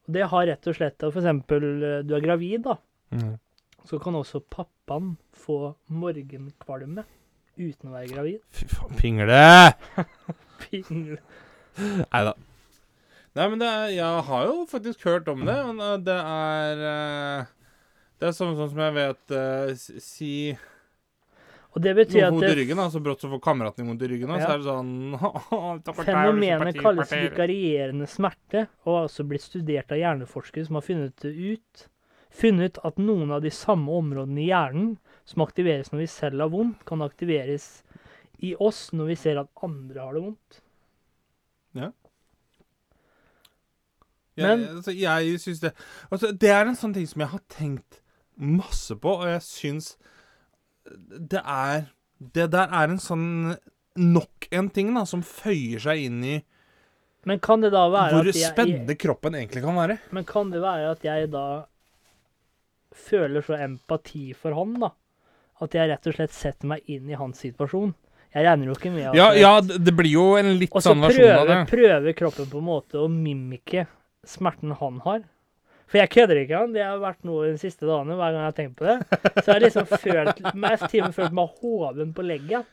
[SPEAKER 1] Og det har rett og slett av f.eks. eh, du er gravid, da. så kan også pappaen få morgenkvalme uten å være gravid.
[SPEAKER 2] Fy faen, pingle!
[SPEAKER 1] Pingle.
[SPEAKER 2] Nei da. Nei, men det er, jeg har jo faktisk hørt om det, og det er eh, Det er samme sånn som jeg vet eh, s- Si
[SPEAKER 1] Og det
[SPEAKER 2] noe
[SPEAKER 1] betyr at
[SPEAKER 2] vondt i
[SPEAKER 1] det,
[SPEAKER 2] ryggen, da, så brått så får kameraten din vondt i ryggen, da,
[SPEAKER 1] Ja.
[SPEAKER 2] så er det sånn «Takk for deg, har du lyst til
[SPEAKER 1] fenomenet
[SPEAKER 2] parti,
[SPEAKER 1] kalles
[SPEAKER 2] parti?»
[SPEAKER 1] vikarierende smerte, og har også blitt studert av hjerneforskere som har funnet det ut funnet at noen av de samme områdene i hjernen som aktiveres når vi selv har vondt, kan aktiveres i oss når vi ser at andre har det vondt.
[SPEAKER 2] Jeg,
[SPEAKER 1] Men-
[SPEAKER 2] altså, jeg synes det altså, Det er en sånn ting som jeg har tenkt masse på, og jeg syns det er Det der er en sånn Nok en ting da, som føyer seg inn i
[SPEAKER 1] Men kan det da være
[SPEAKER 2] hvor
[SPEAKER 1] at jeg,
[SPEAKER 2] spennende kroppen egentlig kan være.
[SPEAKER 1] Men kan det være at jeg da føler så empati for han, da? At jeg rett og slett setter meg inn i hans situasjon? Jeg regner jo ikke med at
[SPEAKER 2] Ja, ja, d- det blir jo en litt
[SPEAKER 1] Og så
[SPEAKER 2] sånn versjon av det.
[SPEAKER 1] prøver, prøver kroppen på en måte å mimike smerten han har. For jeg kødder ikke, han. Det har vært noe de siste dagene hver gang jeg har tenkt på det. Så jeg har liksom følt mest til og med følt meg hoven på leggen.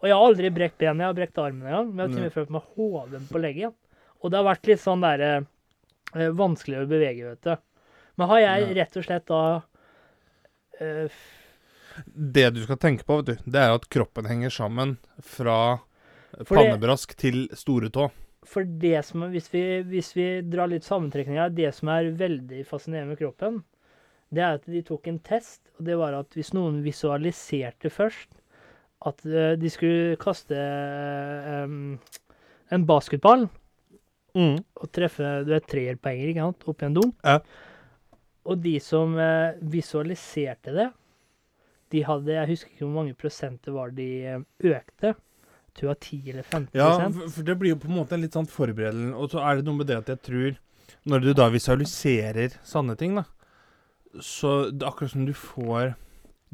[SPEAKER 1] Og jeg har aldri brekt benet, jeg har brekt armen en gang, men jeg har til og med følt meg hoven på leggen. Og det har vært litt sånn derre eh, vanskelig å bevege, vet du. Men har jeg rett og slett da eh, f-
[SPEAKER 2] Det du skal tenke på, vet du, det er at kroppen henger sammen fra
[SPEAKER 1] For det-
[SPEAKER 2] pannebrask til storetå.
[SPEAKER 1] For det som er, hvis, vi, hvis vi drar litt sammentrekninger, det som er veldig fascinerende med kroppen, det er at de tok en test, og det var at hvis noen visualiserte først at eh, de skulle kaste eh, em, en basketball og treffe du vet, treerpenger ikke sant, opp i en dunk
[SPEAKER 2] Ja.
[SPEAKER 1] Og de som eh, visualiserte det, de hadde Jeg husker ikke hvor mange prosent det var de eh, økte. Jeg tror det var 10 eller 15
[SPEAKER 2] Ja, for, for det blir jo på en måte en litt sånn forberedelse. Og så er det noe med det at jeg tror Når du da visualiserer sanne ting, da, så det er akkurat som du får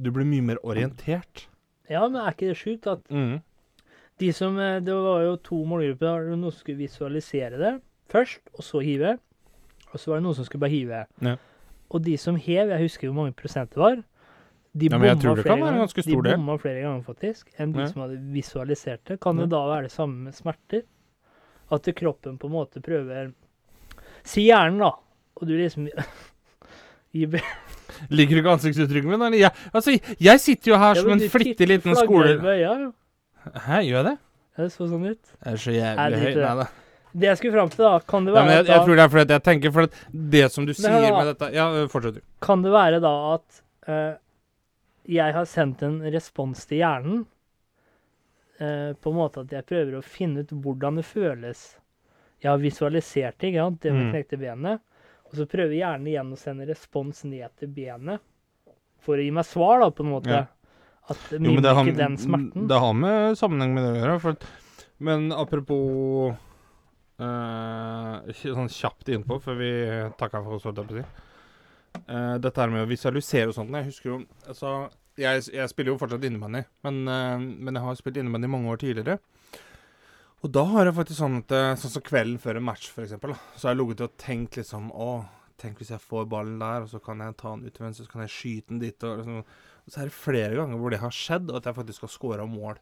[SPEAKER 2] Du blir mye mer orientert.
[SPEAKER 1] Ja, men er ikke det sjukt at
[SPEAKER 2] Mm.
[SPEAKER 1] de som eh, Det var jo to målgrupper. da. Det var Noen som skulle visualisere det først, og så hive. Og så var det noen som skulle bare hive.
[SPEAKER 2] Ja.
[SPEAKER 1] Og de som hev, jeg husker hvor mange prosent det var de
[SPEAKER 2] Ja, men jeg
[SPEAKER 1] bomma
[SPEAKER 2] tror det
[SPEAKER 1] flere
[SPEAKER 2] kan være en
[SPEAKER 1] ganger-
[SPEAKER 2] ganske stor
[SPEAKER 1] De
[SPEAKER 2] del.
[SPEAKER 1] bomma flere ganger, faktisk, enn de
[SPEAKER 2] Ja.
[SPEAKER 1] som hadde visualisert det. Kan
[SPEAKER 2] Ja.
[SPEAKER 1] det da være det samme med smerter? At kroppen på en måte prøver Si hjernen, da, og du liksom gir be-
[SPEAKER 2] Liker du ikke ansiktsuttrykket mitt? eller? Jeg, altså, jeg sitter jo
[SPEAKER 1] Ja,
[SPEAKER 2] her som
[SPEAKER 1] men
[SPEAKER 2] en
[SPEAKER 1] du
[SPEAKER 2] flittig
[SPEAKER 1] titter-
[SPEAKER 2] liten
[SPEAKER 1] flagrer med
[SPEAKER 2] skole...
[SPEAKER 1] øya, jo.
[SPEAKER 2] Hæ, gjør jeg det?
[SPEAKER 1] Ja, Det så sånn ut.
[SPEAKER 2] Jeg er så
[SPEAKER 1] Nei, det
[SPEAKER 2] jævlig
[SPEAKER 1] er
[SPEAKER 2] høy.
[SPEAKER 1] ikke det.
[SPEAKER 2] Nei da.
[SPEAKER 1] Det jeg skulle fram til, da, kan det
[SPEAKER 2] Ja,
[SPEAKER 1] være
[SPEAKER 2] men jeg,
[SPEAKER 1] at da
[SPEAKER 2] jeg tror det er fordi at jeg tenker For at det som du
[SPEAKER 1] Men
[SPEAKER 2] sier
[SPEAKER 1] hør da.
[SPEAKER 2] med dette Ja, øh, fortsett du.
[SPEAKER 1] Kan det være da at eh, jeg har sendt en respons til hjernen? eh, på en måte at jeg prøver å finne ut hvordan det føles. Jeg har visualisert det, ikke sant? Det med
[SPEAKER 2] Mm.
[SPEAKER 1] knekte benet. Og så prøver hjernen igjen å sende respons ned til benet. For å gi meg svar, da, på en måte.
[SPEAKER 2] Ja.
[SPEAKER 1] At mimike den smerten.
[SPEAKER 2] det har med sammenheng med det å gjøre. For at, men apropos eh, ikke Sånn kjapt innpå, før vi takka for oss, holdt jeg på å si. Eh, dette her med å visualisere og sånt Jeg husker jo altså, jeg, jeg spiller jo fortsatt innebandy, men, eh, men jeg har spilt innebandy mange år tidligere. Og da har jeg faktisk sånn at eh, Sånn som kvelden før en match, for eksempel, da, så har jeg ligget og tenkt liksom Å, tenk hvis jeg får ballen der, og så kan jeg ta den ut til venstre, så kan jeg skyte den dit, og liksom og så er det flere ganger hvor det har skjedd, og at jeg faktisk har scora mål.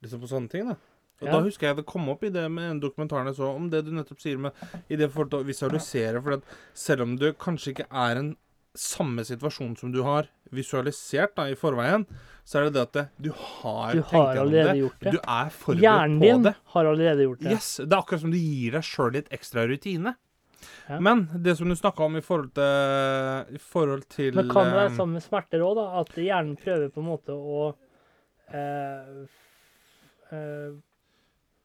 [SPEAKER 2] Liksom på sånne ting, da. Og
[SPEAKER 1] Ja.
[SPEAKER 2] da husker jeg det kom opp i det med den dokumentaren jeg så, om det du nettopp sier med i det forhold til å visualisere. For at selv om du kanskje ikke er en samme situasjon som du har visualisert da i forveien, så er det det at det, du har,
[SPEAKER 1] Du har allerede gjort det.
[SPEAKER 2] Du er forberedt
[SPEAKER 1] Hjernen din
[SPEAKER 2] på det.
[SPEAKER 1] har allerede gjort det.
[SPEAKER 2] Yes, Det er akkurat som du gir deg sjøl litt ekstra rutine.
[SPEAKER 1] Ja.
[SPEAKER 2] Men det som du snakka om i forhold til, i forhold til
[SPEAKER 1] Men kan det være
[SPEAKER 2] eh,
[SPEAKER 1] sammen med sånn- smerter òg, da? At hjernen prøver på en måte å eh, f- eh,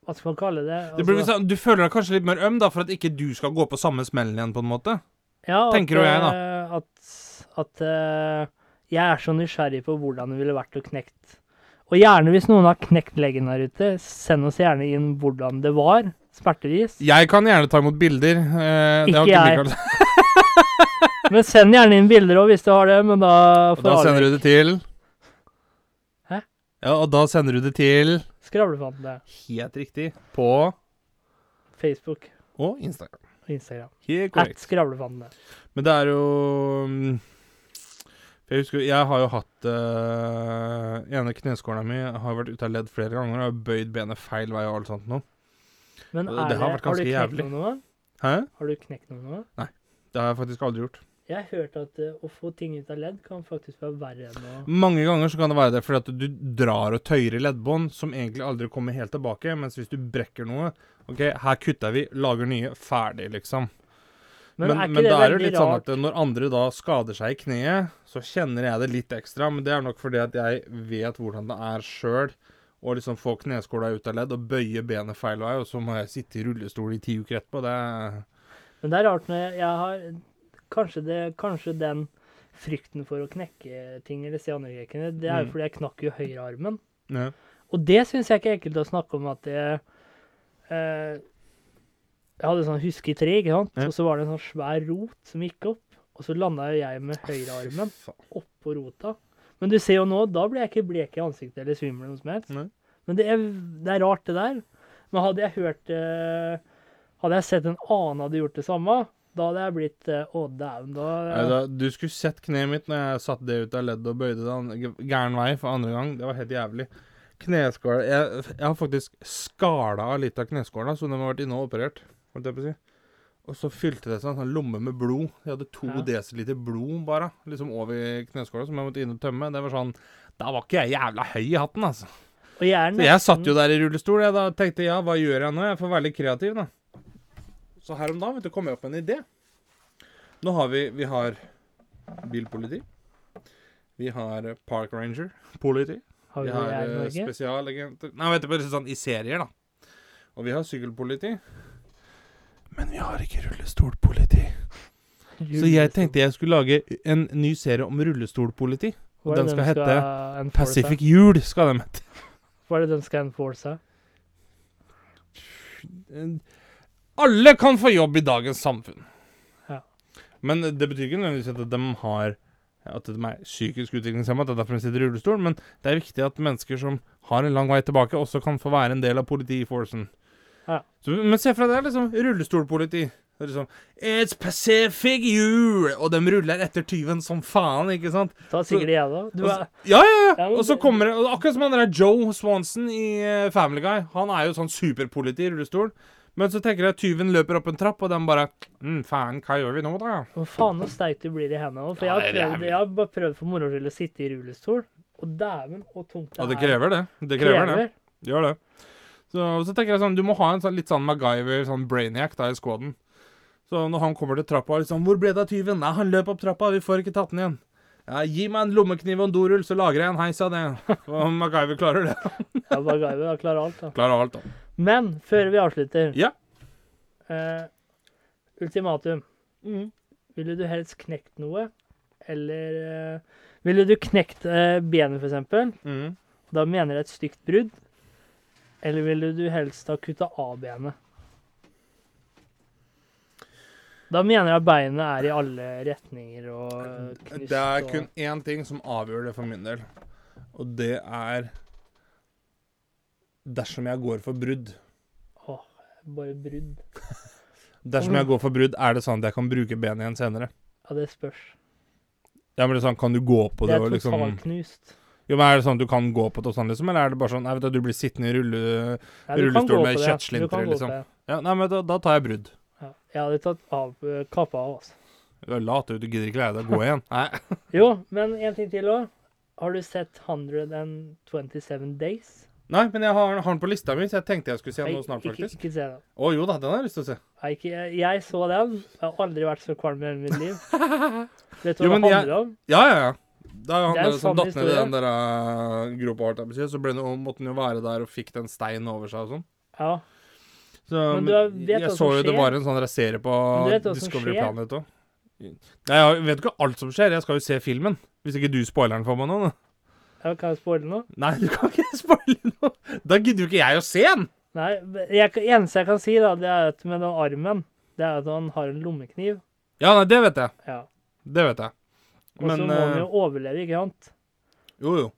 [SPEAKER 1] Hva skal man kalle det?
[SPEAKER 2] Det blir
[SPEAKER 1] Altså-
[SPEAKER 2] liksom, du føler deg kanskje litt mer øm da, for at ikke du skal gå på samme smellen igjen, på en måte.
[SPEAKER 1] ja,
[SPEAKER 2] tenker jo jeg, da.
[SPEAKER 1] eh, At, at eh, jeg er så nysgjerrig på hvordan det ville vært å knekt Og gjerne hvis noen har knekt leggen her ute, send oss gjerne inn hvordan det var, smertevis.
[SPEAKER 2] Jeg kan gjerne ta imot bilder.
[SPEAKER 1] Ikke
[SPEAKER 2] Eh, det har
[SPEAKER 1] jeg.
[SPEAKER 2] Mikael-
[SPEAKER 1] Men send gjerne inn bilder òg hvis du har det, men da
[SPEAKER 2] Og da
[SPEAKER 1] får
[SPEAKER 2] sender
[SPEAKER 1] alle
[SPEAKER 2] du det til
[SPEAKER 1] Hæ?
[SPEAKER 2] Ja, og da sender du det til
[SPEAKER 1] skravlefantene.
[SPEAKER 2] Helt riktig. På
[SPEAKER 1] Facebook
[SPEAKER 2] Og Instagram.
[SPEAKER 1] og Instagram.
[SPEAKER 2] Helt
[SPEAKER 1] At
[SPEAKER 2] korrekt.
[SPEAKER 1] skravlefantene.
[SPEAKER 2] Men det er jo mm, for Jeg husker, jeg har jo hatt uh, ene kneskåla mi har vært ute av ledd flere ganger og har bøyd benet feil vei og alt sånt nå.
[SPEAKER 1] Men
[SPEAKER 2] Det
[SPEAKER 1] er
[SPEAKER 2] har
[SPEAKER 1] det,
[SPEAKER 2] vært
[SPEAKER 1] har du
[SPEAKER 2] ganske
[SPEAKER 1] knekt
[SPEAKER 2] jævlig.
[SPEAKER 1] noe nå?
[SPEAKER 2] Hæ?
[SPEAKER 1] Har du knekt noe nå?
[SPEAKER 2] Det har jeg faktisk aldri gjort.
[SPEAKER 1] Jeg har hørt at eh, å få ting ut av ledd kan faktisk være verre enn å
[SPEAKER 2] Mange ganger så kan det være det fordi at du drar og tøyer i leddbånd, som egentlig aldri kommer helt tilbake. Mens hvis du brekker noe OK, her kutter vi, lager nye, ferdig, liksom. Men, men, da er det jo litt sånn at når andre da skader seg i kneet, så kjenner jeg det litt ekstra. Men det er nok fordi at jeg vet hvordan det er sjøl å liksom få kneskåla ut av ledd og bøye benet feil vei, og så må jeg sitte i rullestol i ti uker etterpå. Det er
[SPEAKER 1] Men det er rart når jeg- jeg har Kanskje, det, kanskje den frykten for å knekke ting eller se andre knekkene, det er jo
[SPEAKER 2] Mm.
[SPEAKER 1] fordi jeg knakk jo høyrearmen.
[SPEAKER 2] ja.
[SPEAKER 1] Og det syns jeg ikke er ekkelt å snakke om at jeg eh, Jeg hadde sånn husketre, ikke sant,
[SPEAKER 2] Ja.
[SPEAKER 1] og så var det en sånn svær rot som gikk opp, og så landa jo jeg med høyrearmen
[SPEAKER 2] Faen.
[SPEAKER 1] oppå rota. Men du ser jo nå, da blir jeg ikke blek i ansiktet eller svimmel eller noe som helst.
[SPEAKER 2] Nei.
[SPEAKER 1] Men det er, det er rart, det der. Men hadde jeg hørt eh, Hadde jeg sett en annen hadde gjort det samme, da hadde jeg blitt eh, Å, dæven, da
[SPEAKER 2] Nei, da- Du skulle sett kneet mitt når jeg satte det ut av leddet og bøyde det an- g- gæren vei for andre gang. Det var helt jævlig. Kneskåla jeg, jeg har faktisk skala av litt av kneskåla, så den har vært inne og operert. Holdt jeg på å si. Og så fylte det seg en sånn lomme med blod. Jeg hadde to
[SPEAKER 1] Ja.
[SPEAKER 2] desiliter blod bare, liksom over kneskåla, som jeg måtte inn og tømme. Det var sånn Da var ikke jeg jævla høy i hatten, altså.
[SPEAKER 1] Og jeg er
[SPEAKER 2] Så jeg satt jo der i rullestol, jeg da tenkte ja, hva gjør jeg nå? Jeg får være litt kreativ, da. Så her om dagen vet du, kom jeg opp med en idé. Nå har vi Vi har bilpoliti. Vi har eh, park ranger. Politi.
[SPEAKER 1] Har
[SPEAKER 2] Vi
[SPEAKER 1] vi det
[SPEAKER 2] har
[SPEAKER 1] her i
[SPEAKER 2] eh,
[SPEAKER 1] Norge?
[SPEAKER 2] spesialagenter Nei, vet du, bare sånn i serier, da. Og vi har sykkelpoliti. Men vi har ikke rullestolpoliti. Så
[SPEAKER 1] liksom.
[SPEAKER 2] jeg tenkte jeg skulle lage en ny serie om rullestolpoliti.
[SPEAKER 1] Hva er
[SPEAKER 2] den
[SPEAKER 1] det
[SPEAKER 2] skal
[SPEAKER 1] de enforce her?
[SPEAKER 2] Pacific Hjul skal den hete.
[SPEAKER 1] Hva er det den skal enforce? her?
[SPEAKER 2] Eh, Alle kan få jobb i dagens samfunn.
[SPEAKER 1] Ja.
[SPEAKER 2] Men det betyr ikke nødvendigvis at de har at de er psykisk utviklingshemmet, at det er derfor de sitter i rullestol, men det er viktig at mennesker som har en lang vei tilbake, også kan få være en del av politiforcen.
[SPEAKER 1] Ja.
[SPEAKER 2] Så, men se for deg det er liksom rullestolpoliti. Det er liksom It's Pacific Hjul! Og de ruller etter tyven som faen, ikke sant?
[SPEAKER 1] Ta sikkert jeg, da. Du eh,
[SPEAKER 2] Altså-
[SPEAKER 1] er,
[SPEAKER 2] Ja, ja, ja.
[SPEAKER 1] Ja, men
[SPEAKER 2] Og så
[SPEAKER 1] det-
[SPEAKER 2] kommer det og Akkurat som han der Joe Swanson i eh, Family Guy. Han er jo sånn superpoliti i rullestol. Men så tenker jeg at tyven løper opp en trapp, og den bare mm, Faen, hva gjør vi nå, da?
[SPEAKER 1] Å, faen så sterk du blir i hendene òg. For
[SPEAKER 2] Ja,
[SPEAKER 1] jeg har,
[SPEAKER 2] det er
[SPEAKER 1] prøvd,
[SPEAKER 2] jævlig.
[SPEAKER 1] jeg har bare prøvd for moro skyld å sitte i rullestol, og dæven og tungt
[SPEAKER 2] Ja, det
[SPEAKER 1] er.
[SPEAKER 2] krever det. Det krever det. Gjør det. Så, og så tenker jeg sånn Du må ha en sånn, litt sånn MacGyver, sånn brainiac, da, i squaden. Så når han kommer til trappa, liksom 'Hvor ble det av tyven?' 'Nei, han løp opp trappa. Vi får ikke tatt den igjen.' Ja, 'Gi meg en lommekniv og en dorull, så lager jeg en heis av det.' Og MacGyver klarer det.
[SPEAKER 1] Ja, MacGyver har klart alt, da.
[SPEAKER 2] Klarer alt, da.
[SPEAKER 1] Men før vi avslutter
[SPEAKER 2] Ja.
[SPEAKER 1] eh, Ultimatum.
[SPEAKER 2] Mm.
[SPEAKER 1] Ville du helst knekt noe? Eller eh, Ville du knekt eh, benet, for eksempel?
[SPEAKER 2] Mm.
[SPEAKER 1] Da mener jeg et stygt brudd. Eller ville du helst ha kutta av benet? Da mener jeg beinet er i alle retninger og knust.
[SPEAKER 2] Det er
[SPEAKER 1] og-
[SPEAKER 2] kun én ting som avgjør det for min del, og det er Dersom jeg går for brudd
[SPEAKER 1] Åh, bare brudd. Mm.
[SPEAKER 2] Dersom jeg går for brudd, er det sånn at jeg kan bruke benet igjen senere?
[SPEAKER 1] Ja, det spørs.
[SPEAKER 2] Ja, men det er sånn, Kan du gå på
[SPEAKER 1] Det
[SPEAKER 2] det?
[SPEAKER 1] er
[SPEAKER 2] og liksom...
[SPEAKER 1] totalt knust.
[SPEAKER 2] Jo, men Er det sånn at du kan gå på det og sånn, liksom? Eller er det bare sånn Nei, vet du, du blir sittende i
[SPEAKER 1] Nei,
[SPEAKER 2] rulle...
[SPEAKER 1] du kan
[SPEAKER 2] Rullestol
[SPEAKER 1] gå
[SPEAKER 2] med
[SPEAKER 1] på det.
[SPEAKER 2] kjøttslinter,
[SPEAKER 1] Du kan gå på
[SPEAKER 2] liksom.
[SPEAKER 1] det.
[SPEAKER 2] Ja, nei, men da, da tar jeg brudd.
[SPEAKER 1] Ja. Jeg hadde tatt av, eh, kappa av, altså.
[SPEAKER 2] Du er lat, du. Du gidder ikke lære deg å gå igjen. Nei.
[SPEAKER 1] Jo, men en ting til òg. Har du sett 127 Days?
[SPEAKER 2] nei, men jeg har har den på lista mi, så jeg tenkte jeg skulle se den
[SPEAKER 1] Nei,
[SPEAKER 2] nå snart,
[SPEAKER 1] ikke,
[SPEAKER 2] faktisk.
[SPEAKER 1] ikke se den.
[SPEAKER 2] Å jo da, den har jeg lyst til å se.
[SPEAKER 1] Nei, ikke, jeg, jeg så den. Jeg har aldri vært så kvalm i hele mitt liv. Vet du
[SPEAKER 2] Jo,
[SPEAKER 1] hva
[SPEAKER 2] men
[SPEAKER 1] det
[SPEAKER 2] jeg-
[SPEAKER 1] handler om?
[SPEAKER 2] Ja, ja, ja. Da er jo
[SPEAKER 1] Det er
[SPEAKER 2] han
[SPEAKER 1] en
[SPEAKER 2] der som
[SPEAKER 1] sann
[SPEAKER 2] datt ned i
[SPEAKER 1] historie.
[SPEAKER 2] den der eh, gropa, holdt jeg på å si, så ble han jo- måtte han jo være der og fikk den steinen over seg og sånn.
[SPEAKER 1] Ja.
[SPEAKER 2] Så,
[SPEAKER 1] Men
[SPEAKER 2] men
[SPEAKER 1] du vet hva
[SPEAKER 2] jeg
[SPEAKER 1] som
[SPEAKER 2] så jo det
[SPEAKER 1] skjer.
[SPEAKER 2] var en sånn der serie på
[SPEAKER 1] Men du vet hva som
[SPEAKER 2] Discovery
[SPEAKER 1] skjer.
[SPEAKER 2] Planet òg. Nei, jeg vet ikke alt som skjer, jeg skal jo se filmen. Hvis ikke du spoiler den for meg nå. da.
[SPEAKER 1] Jeg kan jeg spoile noe?
[SPEAKER 2] Nei, du kan ikke spoile noe! Da gidder jo ikke jeg å se den!
[SPEAKER 1] Nei, men jeg, kan- eneste jeg kan si, da, det er at med den armen Det er at han har en lommekniv.
[SPEAKER 2] Ja, nei, det vet jeg.
[SPEAKER 1] Ja.
[SPEAKER 2] Det vet jeg.
[SPEAKER 1] Og så
[SPEAKER 2] Men,
[SPEAKER 1] må han
[SPEAKER 2] eh,
[SPEAKER 1] jo overleve, ikke sant?
[SPEAKER 2] Jo, jo.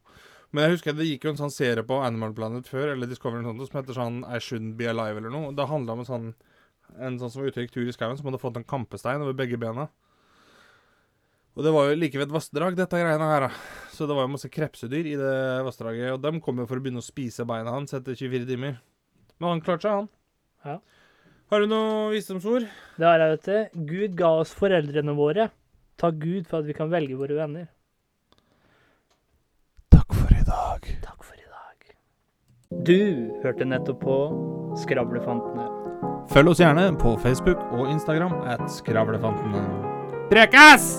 [SPEAKER 2] Men jeg husker det gikk jo en sånn serie på Animal Planet før, eller Discovery eller noe sånt, som heter sånn I Shouldn't Be Alive eller noe. Det handla om en sånn en sånn som var ute og gikk tur i skauen, som hadde fått en kampestein over begge bena. Og det var jo like ved et vassdrag, dette greiene her, da. Så det var jo masse krepsedyr i det vassdraget, og dem kom jo for å begynne å spise beina hans etter 24 timer. Men han klarte seg, han.
[SPEAKER 1] Ja.
[SPEAKER 2] Har du noe visdomsord?
[SPEAKER 1] eh, Det har jeg, vet du. Gud ga oss foreldrene våre. Ta Gud for at vi kan velge våre venner.
[SPEAKER 2] Takk for i dag.
[SPEAKER 1] Takk for i dag. Du hørte nettopp på Skravlefantene.
[SPEAKER 2] Følg oss gjerne på Facebook og Instagram at Skravlefantene. Prekas!